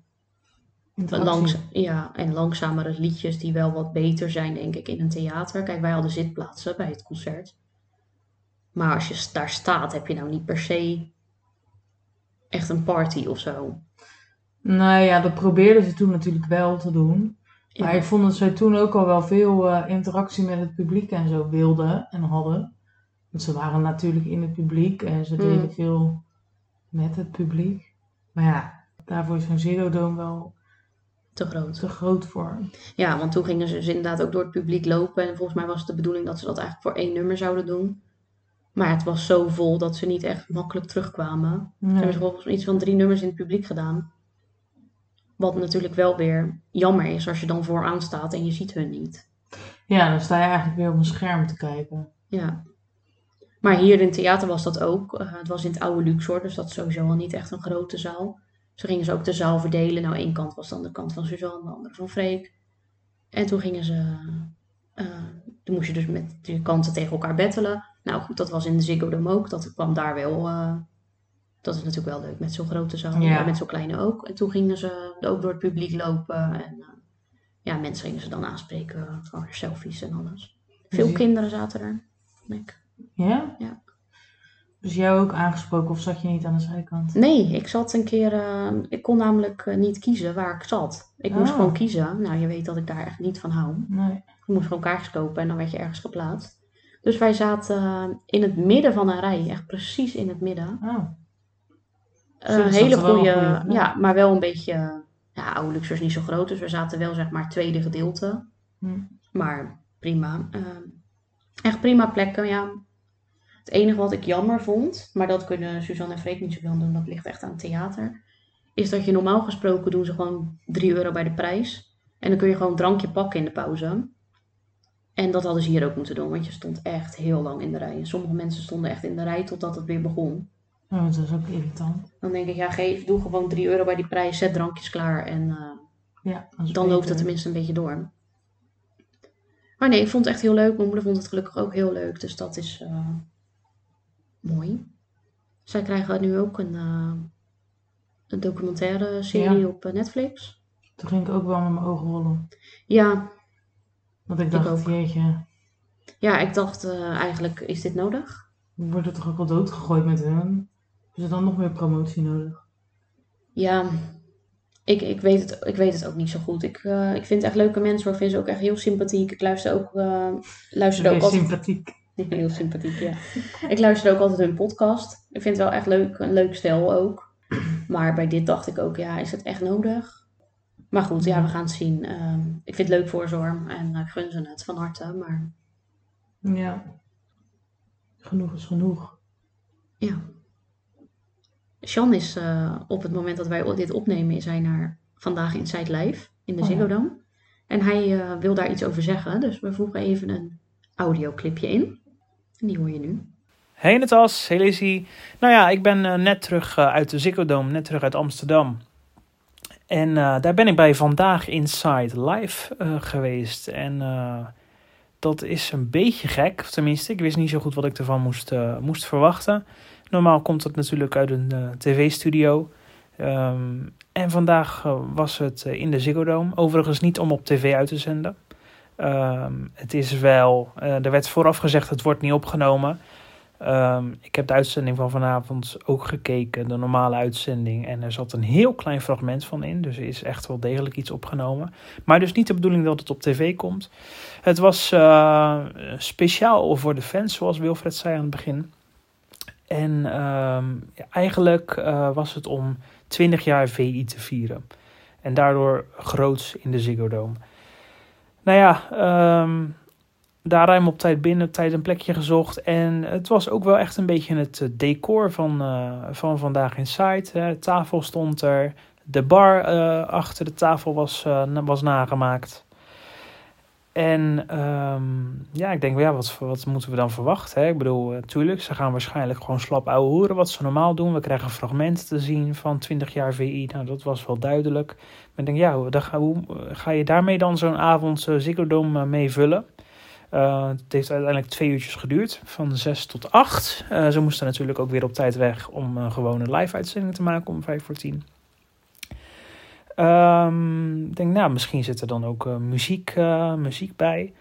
B: Interactie.
A: langs, ja, en langzamere liedjes die wel wat beter zijn, denk ik, in een theater. Kijk, wij hadden zitplaatsen bij het concert. Maar als je s- daar staat, heb je nou niet per se echt een party of zo.
B: Nou ja, dat probeerden ze toen natuurlijk wel te doen.
A: Ja.
B: Maar ik vond dat zij toen ook al wel veel eh, interactie met het publiek en zo wilden en hadden. Want ze waren natuurlijk in het publiek en ze
A: Mm.
B: deden veel met het publiek. Maar ja, daarvoor is zo'n Zero Dome wel
A: Te groot.
B: te groot voor.
A: Ja, want toen gingen ze dus inderdaad ook door het publiek lopen. En volgens mij was het de bedoeling dat ze dat eigenlijk voor één nummer zouden doen. Maar het was zo vol dat ze niet echt makkelijk terugkwamen. Ze
B: Nee.
A: hebben ze volgens mij iets van drie nummers in het publiek gedaan. Wat natuurlijk wel weer jammer is als je dan vooraan staat en je ziet hun niet.
B: Ja, dan sta je eigenlijk weer op een scherm te kijken.
A: Ja. Maar hier in het theater was dat ook. Eh, het was in het oude Luxor, dus dat is sowieso al niet echt een grote zaal. Zo gingen ze ook de zaal verdelen. Nou, één kant was dan de kant van Suzanne, de andere van Freek. En toen gingen ze... eh, toen moest je dus met de kanten tegen elkaar battelen. Nou goed, dat was in de Ziggo Dome ook. Dat kwam daar wel... eh, dat is natuurlijk wel leuk met zo'n grote zaal.
B: Ja.
A: Maar met zo'n kleine ook. En toen gingen ze ook door het publiek lopen. En eh, ja, mensen gingen ze dan aanspreken. Gewoon selfies en alles. Veel
B: Dus-
A: kinderen zaten er. denk ik.
B: Ja?
A: Ja.
B: Dus jou ook aangesproken of zat je niet aan de zijkant?
A: Nee, ik zat een keer. eh, ik kon namelijk eh, niet kiezen waar ik zat. Ik moest
B: Oh.
A: gewoon kiezen. Nou, je weet dat ik daar echt niet van hou.
B: Nee.
A: Ik moest gewoon kaartjes kopen en dan werd je ergens geplaatst. Dus wij zaten eh, in het midden van een rij, echt precies in het midden.
B: Oh.
A: Eh,
B: Zo, dus
A: hele
B: dat is wel een
A: goede,
B: goede plek.
A: ja, maar wel een beetje. eh, Ja, oude Luxor is niet zo groot, dus we zaten wel zeg maar het tweede gedeelte.
B: Hm.
A: Maar prima. eh, echt prima plekken, ja. Het enige wat ik jammer vond, maar dat kunnen Suzanne en Freek niet zoveel aan doen, dat ligt echt aan het theater, is dat je normaal gesproken doen ze gewoon 3 euro bij de prijs. En dan kun je gewoon een drankje pakken in de pauze. En dat hadden ze hier ook moeten doen, want je stond echt heel lang in de rij. En sommige mensen stonden echt in de rij totdat het weer begon.
B: Nou, dat is ook irritant.
A: Dan denk ik, ja, geef, doe gewoon 3 euro bij die prijs, zet drankjes klaar en eh,
B: Ja, dat is
A: dan loopt
B: beter.
A: het tenminste een beetje door. Maar nee, ik vond het echt heel leuk. Mijn moeder vond het gelukkig ook heel leuk, dus dat is eh, mooi. Zij krijgen nu ook een, eh, een documentaire serie
B: Ja.
A: op eh, Netflix.
B: Toen ging ik ook wel met mijn ogen rollen.
A: Ja,
B: Want ik
A: Ik
B: dacht,
A: ook.
B: jeetje,
A: ja ik dacht eh, eigenlijk, is dit nodig?
B: we worden toch ook al doodgegooid met hun? Is er dan nog meer promotie nodig?
A: Ja, ik, ik, weet, het, ik weet het ook niet zo goed. Ik, eh, ik vind het echt leuke mensen, maar ik vind ze ook echt heel sympathiek. Ik luister ook, eh luister ook
B: Weer
A: altijd
B: sympathiek.
A: Heel sympathiek, ja. Ik luister ook altijd hun podcast. Ik vind het wel echt leuk, een leuk stel ook. Maar bij dit dacht ik ook, ja, is het echt nodig? Maar goed, ja, we gaan het zien. Ehm, ik vind het leuk voor ze hoor. En eh, ik gun ze het van harte. Maar
B: Ja. Genoeg is genoeg.
A: ja. Sjan is eh, op het moment dat wij dit opnemen, is hij naar vandaag Inside Live in de
B: Oh ja.
A: Ziggo Dome. En hij eh, wil daar iets over zeggen. Dus we voegen even een audioclipje in. En die hoor je nu.
C: Hey Natas, hey Lizzie. Nou ja, ik ben eh, net terug eh, uit de Ziggo Dome, net terug uit Amsterdam. En eh, daar ben ik bij Vandaag Inside Live eh, geweest. En eh, dat is een beetje gek, of tenminste. Ik wist niet zo goed wat ik ervan moest, eh, moest verwachten. Normaal komt dat natuurlijk uit een eh, tv-studio. Ehm, en vandaag eh, was het eh, in de Ziggo Dome. Overigens niet om op tv uit te zenden. Ehm, het is wel, eh, er werd vooraf gezegd, het wordt niet opgenomen. Ehm, ik heb de uitzending van vanavond ook gekeken, de normale uitzending. En er zat een heel klein fragment van in. Dus er is echt wel degelijk iets opgenomen. Maar dus niet de bedoeling dat het op tv komt. Het was eh, speciaal voor de fans, zoals Wilfred zei aan het begin. En ehm, ja, eigenlijk eh, was het om 20 jaar VI te vieren. En daardoor groots in de Ziggo Dome. Nou ja, ehm, daar ruim op tijd binnen, op tijd een plekje gezocht. En het was ook wel echt een beetje het eh, decor van, eh, van vandaag in site. Hè. Tafel stond er, de bar eh, achter de tafel was, eh, na- was nagemaakt. En ehm, ja, ik denk, wel, ja, wat, wat moeten we dan verwachten? Hè? Ik bedoel, natuurlijk, ze gaan waarschijnlijk gewoon slap ouwe hoeren wat ze normaal doen. We krijgen fragmenten te zien van 20 jaar VI. Nou, dat was wel duidelijk. Maar ik denk, ja, hoe, dan ga, hoe eh, ga je daarmee dan zo'n avond eh, Ziggo Dome eh, mee vullen? Eh, het heeft uiteindelijk twee uurtjes geduurd, van zes tot acht. Eh, ze moesten natuurlijk ook weer op tijd weg om eh, gewoon een live uitzending te maken om vijf voor tien. Ehm, ik denk, nou, misschien zit er dan ook eh, muziek, eh, muziek bij.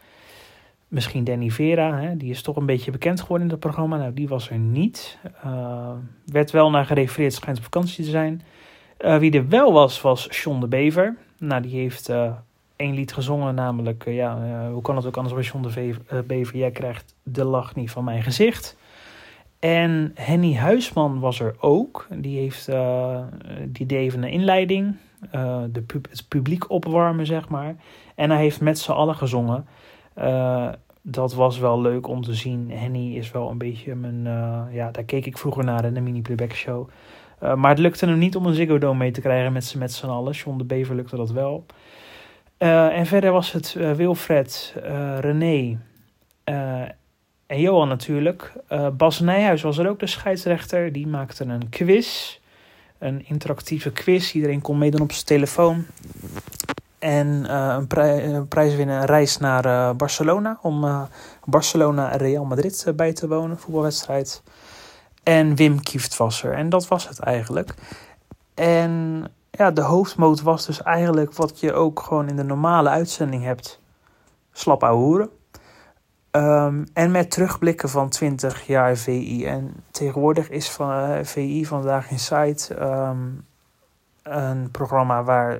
C: Misschien Danny Vera, hè, die is toch een beetje bekend geworden in dat programma. Nou, die was er niet. Eh, werd wel naar gerefereerd, schijnt op vakantie te zijn. Eh, wie er wel was, was John de Bever. Nou, die heeft eh, één lied gezongen, namelijk, eh, ja, eh, hoe kan het ook anders bij John de Ve- eh, Bever, jij krijgt de lach niet van mijn gezicht. En Henny Huisman was er ook, die, heeft, eh, die deed even een inleiding, eh, de pub- het publiek opwarmen, zeg maar. En hij heeft met z'n allen gezongen. Eh, dat was wel leuk om te zien. Henny is wel een beetje mijn, eh, ja, daar keek ik vroeger naar in de mini-playback show. Eh, maar het lukte hem niet om een Ziggo Dome mee te krijgen met z'n- met z'n allen. John de Bever lukte dat wel. Eh, en verder was het eh, Wilfred, eh, René eh, en Johan natuurlijk. Eh, Bas Nijhuis was er ook de scheidsrechter. Die maakte een quiz. Een interactieve quiz. Iedereen kon meedoen op zijn telefoon. En eh, een, prij- een prijs winnen, een reis naar eh, Barcelona. Om eh, Barcelona en Real Madrid eh, bij te wonen, voetbalwedstrijd. En Wim Kieft was er. En dat was het eigenlijk. En ja, de hoofdmoot was dus eigenlijk wat je ook gewoon in de normale uitzending hebt. Slap ouwe hoeren. Ehm, en met terugblikken van 20 jaar VI. En tegenwoordig is van, eh, VI Vandaag in Site ehm, een programma waar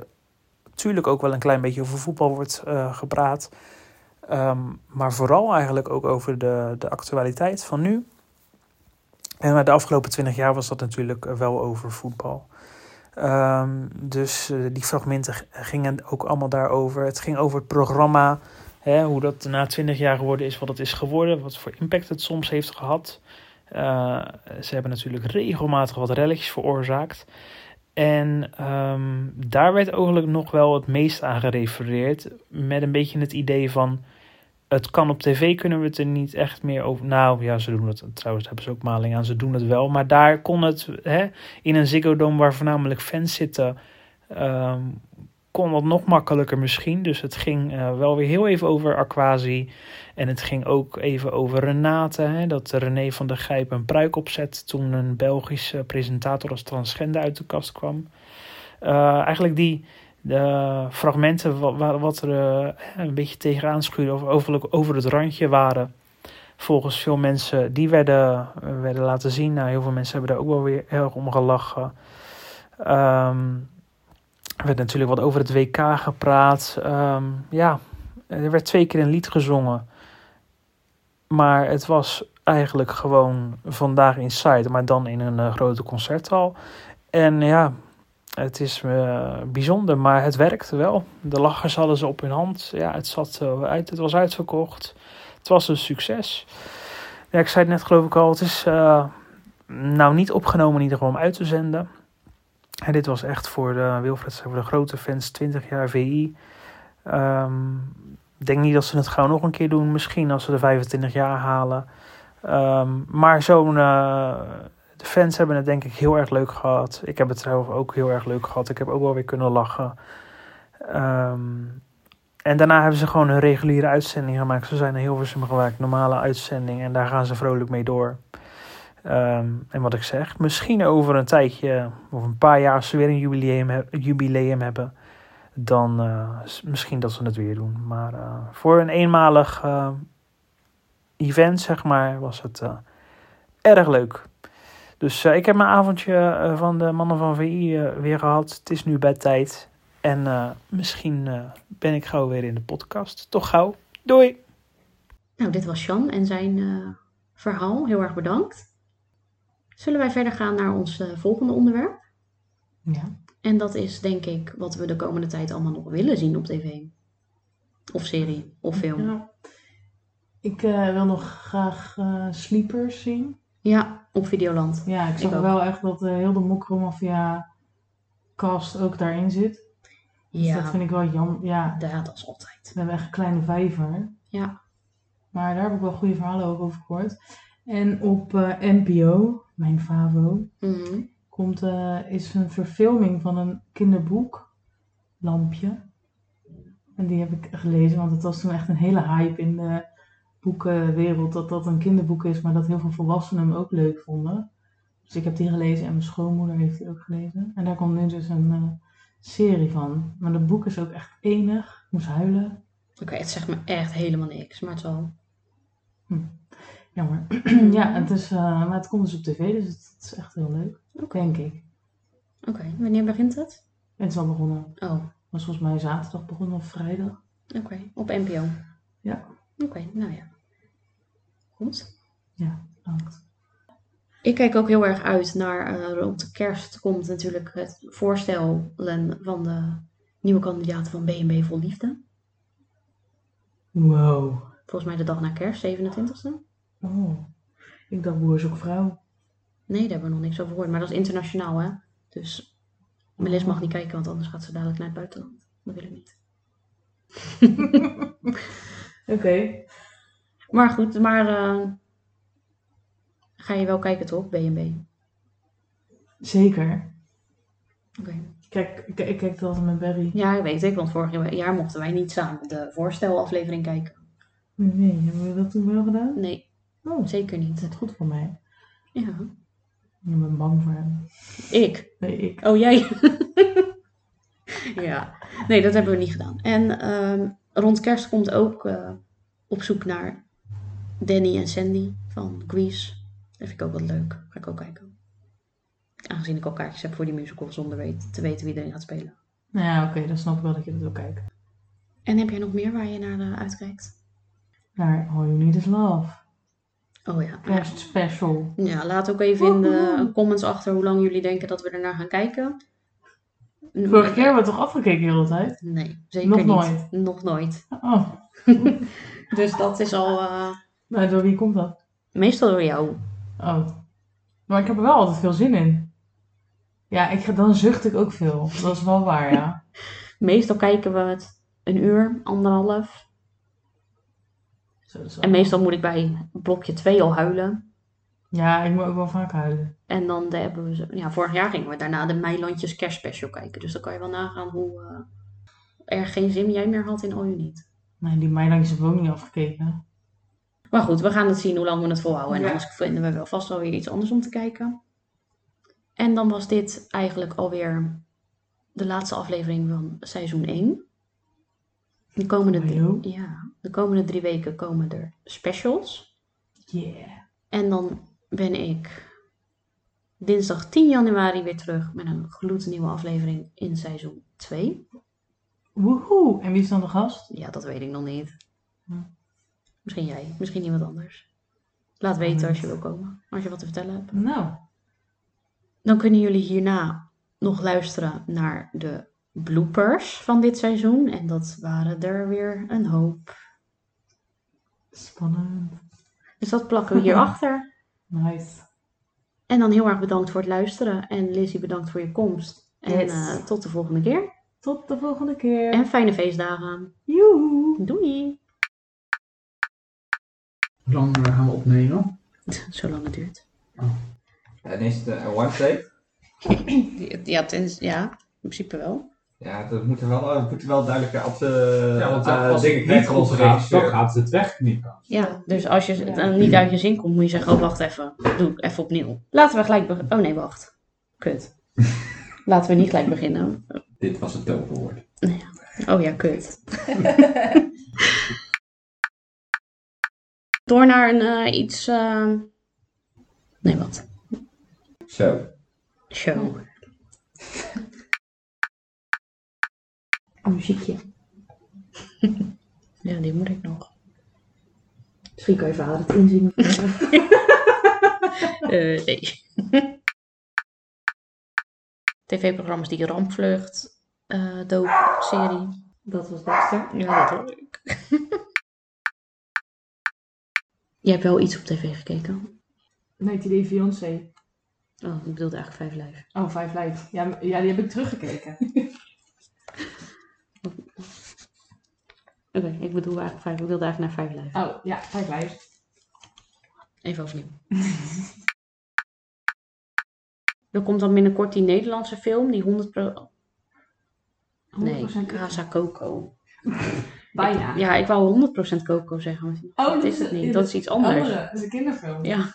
C: natuurlijk ook wel een klein beetje over voetbal wordt eh, gepraat. Ehm, maar vooral eigenlijk ook over de, de actualiteit van nu. En maar de afgelopen 20 jaar was dat natuurlijk eh, wel over voetbal. Ehm, dus eh, die fragmenten g- gingen ook allemaal daarover. Het ging over het programma, hè, hoe dat na 20 jaar geworden is, wat het is geworden, wat voor impact het soms heeft gehad. Eh, ze hebben natuurlijk regelmatig wat relletjes veroorzaakt. En ehm, daar werd eigenlijk nog wel het meest aan gerefereerd. Met een beetje het idee van. Het kan op tv, kunnen we het er niet echt meer over. Nou ja, ze doen het. Trouwens, daar hebben ze ook maling aan. Ze doen het wel. Maar daar kon het. Hè, in een Ziggo Dome waar voornamelijk fans zitten. ehm, kon dat nog makkelijker misschien. Dus het ging eh, wel weer heel even over Aquasi. En het ging ook even over Renate. Hè, dat René van der Gijp een pruik opzet toen een Belgische presentator als transgender uit de kast kwam. Eh, eigenlijk die de fragmenten wa- wa- wat er eh, een beetje tegenaan schuurde of over, over het randje waren. Volgens veel mensen, die werden, eh, werden laten zien. Nou, heel veel mensen hebben daar ook wel weer heel erg om gelachen. Ehm, er werd natuurlijk wat over het WK gepraat. Ehm, ja, er werd twee keer een lied gezongen. Maar het was eigenlijk gewoon vandaag Inside, maar dan in een eh, grote concerthal. En ja, het is eh, bijzonder, maar het werkte wel. De lachers hadden ze op hun hand. Ja, het, zat, eh, uit, het was uitverkocht. Het was een succes. Ja, ik zei het net geloof ik al, het is eh, nou niet opgenomen in ieder geval om uit te zenden. En dit was echt voor de, Wilfred, zei, voor de grote fans, 20 jaar VI. Ehm, ik denk niet dat ze het gauw nog een keer doen. Misschien als ze de 25 jaar halen. Ehm, maar zo'n. eh, de fans hebben het denk ik heel erg leuk gehad. Ik heb het trouwens ook heel erg leuk gehad. Ik heb ook wel weer kunnen lachen. Ehm, en daarna hebben ze gewoon een reguliere uitzending gemaakt. Ze zijn naar Hilversum gewaakt, normale uitzending. En daar gaan ze vrolijk mee door. Ehm, en wat ik zeg, misschien over een tijdje of een paar jaar als ze weer een jubileum, he- jubileum hebben, dan eh, s- misschien dat ze het weer doen. Maar eh, voor een eenmalig eh, event, zeg maar, was het eh, erg leuk. Dus eh, ik heb mijn avondje eh, van de mannen van VI eh, weer gehad. Het is nu bedtijd. En eh, misschien eh, ben ik gauw weer in de podcast. Toch gauw. Doei!
A: Nou, dit was Jan en zijn eh, verhaal. Heel erg bedankt. Zullen wij verder gaan naar ons eh, volgende onderwerp?
B: Ja.
A: En dat is denk ik wat we de komende tijd allemaal nog willen zien op tv. Of serie, of film. Ja,
B: ja. Ik eh, wil nog graag eh, Sleepers zien.
A: op Videoland.
B: Ja, ik zag
A: ook.
B: wel echt dat eh, heel de Mokromafia cast ook daarin zit. Dus dat
A: Ja,
B: vind ik wel jammer. Ja,
A: ja, dat is altijd.
B: we hebben echt een kleine vijver.
A: Ja,
B: Maar daar heb ik wel goede verhalen ook over gehoord. En op eh, NPO, mijn Favo,
A: Mhm.
B: komt, eh, is een verfilming van een kinderboek, Lampje. En die heb ik gelezen, want het was toen echt een hele hype in de boekenwereld dat dat een kinderboek is, maar dat heel veel volwassenen hem ook leuk vonden. Dus ik heb die gelezen en mijn schoonmoeder heeft die ook gelezen. En daar komt nu dus een eh, serie van. Maar dat boek is ook echt enig. Ik moest huilen.
A: Oké, het zegt me echt helemaal niks, maar het zal.
B: Jammer. ja, het is, eh, maar het komt dus op tv, dus het, is echt heel leuk.
A: Oké.
B: Denk ik.
A: Oké, wanneer begint het?
B: Het is al begonnen. Het
A: Oh,
B: was volgens mij zaterdag begonnen of vrijdag.
A: oké, op NPO.
B: Ja.
A: Oké, nou ja. Goed.
B: Ja, bedankt.
A: Ik kijk ook heel erg uit naar eh, rond de kerst komt natuurlijk het voorstellen van de nieuwe kandidaat van BNB Vol Liefde.
B: Wow.
A: Volgens mij de dag na kerst, 27e.
B: Oh. Ik dacht broer zoek vrouw.
A: Nee, daar hebben we nog niks over gehoord, maar dat is internationaal hè. Dus Melis mag niet kijken, want anders gaat ze dadelijk naar het buitenland. Dat wil ik niet.
B: Oké.
A: Maar goed, maar eh, ga je wel kijken toch, BNB?
B: Zeker.
A: Oké.
B: Kijk, ik, ik kijk het altijd met Barry.
A: Ja, dat weet ik, want vorig jaar mochten wij niet samen de voorstelaflevering kijken.
B: Nee, hebben we dat toen wel gedaan?
A: Nee,
B: Oh, is
A: zeker niet.
B: dat goed voor mij?
A: Ja,
B: Ik ben bang voor hem.
A: ik.
B: Nee, ik.
A: Oh, jij? ja, nee, dat hebben we niet gedaan. En ehm, rond kerst komt ook eh, op zoek naar Danny en Sandy van Grease. Dat vind ik ook wat leuk. Ga ik ook kijken. Aangezien ik al kaartjes heb voor die musical zonder weet, te weten wie erin gaat spelen.
B: Nou ja, oké, dan snap ik wel dat je dat wil kijken.
A: En heb jij nog meer waar je naar eh, uitkijkt?
B: Naar All You Need Is Love.
A: Oh ja.
B: Kerst special.
A: Ja, laat ook even in de comments achter hoe lang jullie denken dat we ernaar gaan kijken.
B: Vorige keer hebben we toch afgekeken de hele tijd?
A: Nee, zeker
B: Nog
A: niet.
B: nooit.
A: Nog nooit.
B: Oh,
A: Dus dat is al eh,
B: nou, door wie komt dat?
A: meestal door jou.
B: Oh. Maar ik heb er wel altijd veel zin in. Ja, ik, ga- dan zucht ik ook veel. Dat is wel waar, ja.
A: Meestal kijken we het een uur, anderhalf.
B: Zo, dat is wel-
A: En meestal moet ik bij blokje 2 al huilen.
B: Ja, ik moet ook wel vaak huilen.
A: En dan de- hebben we... ze- Ja, vorig jaar gingen we daarna de Meilandjes kerstspecial kijken. Dus dan kan je wel nagaan hoe eh, er geen zin jij meer had in al je niet.
B: Nee, Nou, die meilandjes hebben we ook niet afgekeken.
A: Maar goed, we gaan het zien hoe lang we het volhouden. En
B: Ja.
A: anders vinden we wel vast wel weer iets anders om te kijken. En dan was dit eigenlijk alweer de laatste aflevering van seizoen 1. De komende,
B: Oh,
A: drie-
B: joh.
A: ja, de komende drie weken komen er specials.
B: Yeah.
A: En dan ben ik dinsdag 10 januari weer terug met een gloednieuwe aflevering in seizoen 2.
B: Woehoe. En wie is dan de gast?
A: Ja, dat weet ik nog niet.
B: Hm.
A: Misschien jij, misschien iemand anders. Laat
B: weet
A: weten als je
B: het.
A: wil komen, als je wat te vertellen hebt.
B: Nou,
A: Dan kunnen jullie hierna nog luisteren naar de bloopers van dit seizoen. En dat waren er weer een hoop.
B: spannend.
A: Dus dat plakken we hierachter.
B: Nice.
A: En dan heel erg bedankt voor het luisteren. En Lizzie, bedankt voor je komst. En
B: Yes.
A: eh, tot de volgende keer.
B: Tot de volgende keer.
A: En fijne feestdagen.
B: Joehoe.
A: Doei!
D: Hoe lang eh, gaan we opnemen?
A: Zolang het duurt.
E: En is het eh, een website?
A: Ja, ja, in principe wel.
E: Ja, dat moeten wel, we moeten wel duidelijke op de
D: Ja, want
E: eh,
D: als
E: dingen
D: het niet
E: krijgen van
D: goed
E: onze
D: gaat, dan
E: regisseur.
D: gaat ze het wegknippen.
A: Ja, dus als je het
B: Ja.
A: dan niet uit je zin komt, moet je zeggen, oh wacht even, doe ik even opnieuw. Laten we gelijk beginnen. Oh nee, wacht. Kut. Laten we niet gelijk beginnen.
E: Dit was het toverwoord.
A: Oh ja, kut. Door naar een eh, iets. eh, Nee, wat?
E: Zo.
A: Show. Een Oh, muziekje. ja, die moet ik nog.
F: Misschien kan je vader het inzien.
A: Eh, nee. TV-programma's die Rampvlucht, eh Doop, serie.
F: Dat was Dexter.
A: Ja, dat hoor ik. Jij hebt wel iets op tv gekeken.
F: Nee, die deed Fiancé.
A: Oh, ik bedoelde eigenlijk Vijf Live.
F: Oh, Five Live. Ja, m- ja, die heb ik teruggekeken.
A: Oké, ik bedoel eigenlijk vijf. Ik wilde eigenlijk naar vijf blijven.
F: Oh, ja, Five Live.
A: Even overnieuw. er komt dan binnenkort die Nederlandse film, die 100 pro... Nee,
F: 100% kut.
A: Casa Coco.
F: Bijna.
A: Ja, ik wou 100% Coco zeggen. Maar
B: Oh,
A: Oh, dat is het niet. Dat is iets anders.
F: Andere, dat is een kinderfilm.
A: Ja.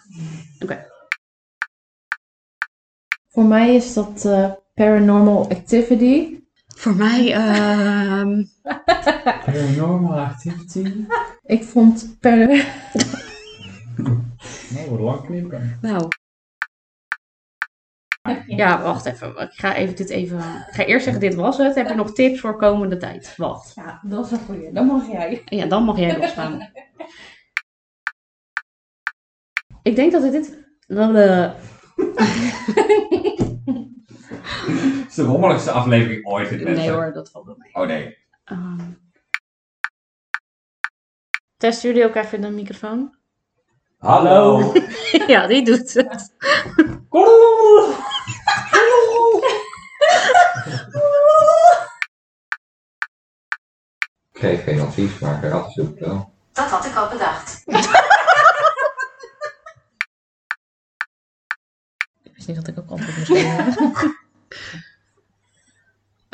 G: Voor mij is dat eh, Paranormal Activity.
A: Voor mij, ehm
D: Paranormal activity.
G: Ik vond per
D: Nee, we lang knippen.
A: nou. Ja, wacht even. Ik ga even dit even... Ik ga eerst zeggen, dit was het. Heb je nog tips voor komende tijd? Wacht.
F: Ja, dat is een goeie. Dan mag jij.
A: Ja, dan mag jij losgaan. ik denk dat we dit. eh, dat we-
E: Het is de rommeligste aflevering ooit in mensen.
A: Nee hoor, dat valt wel mee.
E: Oh nee.
A: Ehm. Testen jullie ook even de microfoon?
E: Hallo.
A: ja, die doet het.
E: Ik geef geen advies, maar ik had het wel.
H: Dat had ik al bedacht.
A: Ik wist niet dat ik ook antwoord moest geven.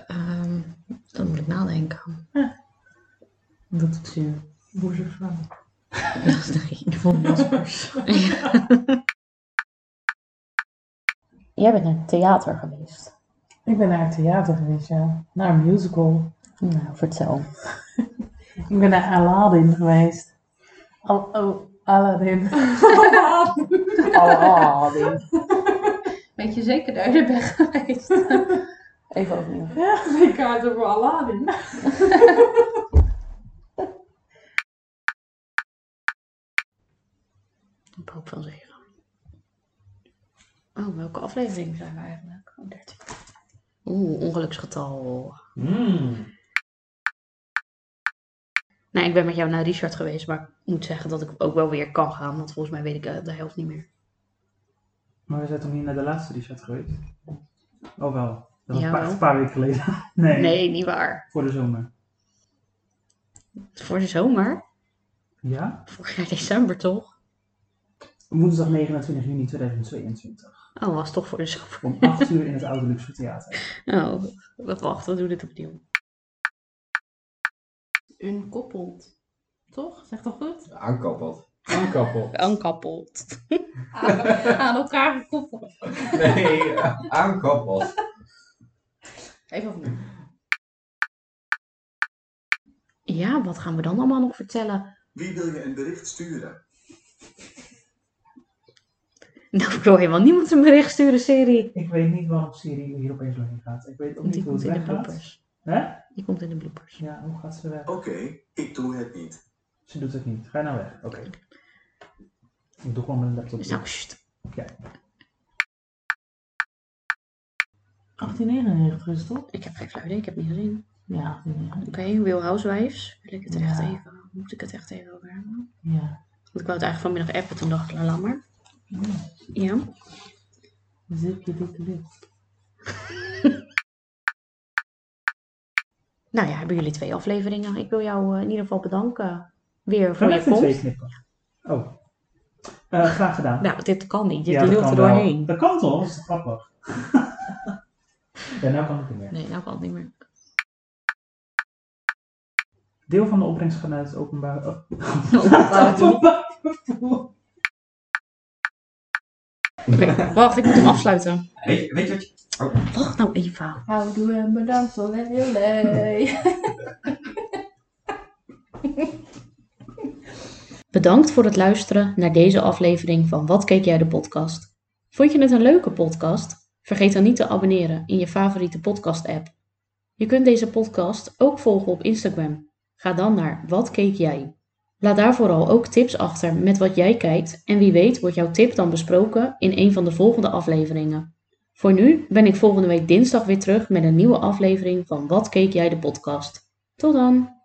A: Ehm, dan moet ik nadenken.
B: Dat is zeer. Boerse vrouw.
A: Ja, nee, ik voel me Jaspers. Jij bent naar het theater geweest.
B: Ik ben naar het theater geweest, ja. Naar een musical.
A: Nou, vertel.
B: Ik ben naar Aladdin geweest. Al oh, Aladdin. Aladdin.
A: Weet je zeker dat je er bent geweest? Even opnieuw.
F: Ik ga het over Aladdin.
A: Ik hoop van zegen. Oh, welke aflevering zijn we eigenlijk? Oh, 13. Oeh, ongeluksgetal. Nee, ik ben met jou naar Richard geweest, maar ik moet zeggen dat ik ook wel weer kan gaan, want volgens mij weet ik eh, de helft niet meer.
I: Maar we zijn toch niet naar de laatste Richard geweest?
C: Oh wel. Dat was een
A: Ja,
C: paar,
A: wel.
C: een paar weken geleden. Nee,
A: Nee, niet waar.
C: voor de zomer.
A: Voor de zomer?
C: Ja?
A: Vorig jaar december toch?
C: Woensdag 29 dus juni 2022.
A: Oh, was toch voor de zomer.
C: Om 8 uur in het Oude Luxe Theater.
A: Oh, wat wacht, we doen het opnieuw.
G: Unkoppeld.
J: Toch? Zeg toch goed?
E: Aankoppeld.
K: Aankappel.
A: Aankappeld.
J: Aan, aan elkaar gekoppeld.
E: Nee, eh, aankoppeld.
G: Even opnieuw.
A: Ja, wat gaan we dan allemaal nog vertellen?
I: Wie wil je een bericht sturen?
A: Nou, ik wil helemaal niemand een bericht sturen, serie.
C: Ik weet niet waarom Siri hier opeens doorheen gaat. Ik weet ook niet
A: Die
C: hoe het
A: komt in de
C: weggaat.
A: bloopers.
C: Hè?
A: Die komt in de bloopers.
C: Ja, hoe gaat ze weg?
I: Oké, ik doe het niet.
C: Ze doet het niet. Ga je nou weg? Oké. Ik doe gewoon mijn laptop.
A: Dus
C: dicht.
A: nou, sst.
B: 1899 is het toch?
A: Ik heb geen flauw idee, ik heb het niet gezien.
B: Ja, 1899.
A: Oké, Real Housewives. Wil ik het echt
B: Ja.
A: even, moet ik het echt even over hebben?
B: Ja.
A: Want ik wou het eigenlijk vanmiddag appen, toen dacht ik, nou, laat maar. Ja.
B: Zipje dikke lip.
A: Nou ja, hebben jullie twee afleveringen. Ik wil jou eh, in ieder geval bedanken weer voor
C: Gewoon
A: je
C: even in twee
A: komst.
C: knippen. Oh. Eh, graag gedaan.
A: Nou, dit kan niet. Je
C: Ja,
A: lult
C: dat kan
A: er
C: wel.
A: doorheen.
C: Dat kan toch? Dat is grappig. ja, nou kan ik niet meer.
A: Nee, nou kan het niet meer.
C: Deel van de opbrengst gaat naar het openbaar... oh,
A: Openbaar doel.
C: openbaar vervoer.
A: Oké, wacht, ik moet hem afsluiten.
E: Weet, je- weet je wat je...
A: Wacht nou even.
G: Houdoe en bedankt voor het heel leuk.
A: Bedankt voor het luisteren naar deze aflevering van Wat keek jij de podcast? Vond je het een leuke podcast? Vergeet dan niet te abonneren in je favoriete podcast app. Je kunt deze podcast ook volgen op Instagram. Ga dan naar Wat keek jij? Laat daar vooral ook tips achter met wat jij kijkt en wie weet wordt jouw tip dan besproken in een van de volgende afleveringen. Voor nu ben ik volgende week dinsdag weer terug met een nieuwe aflevering van Wat keek jij de podcast. Tot dan!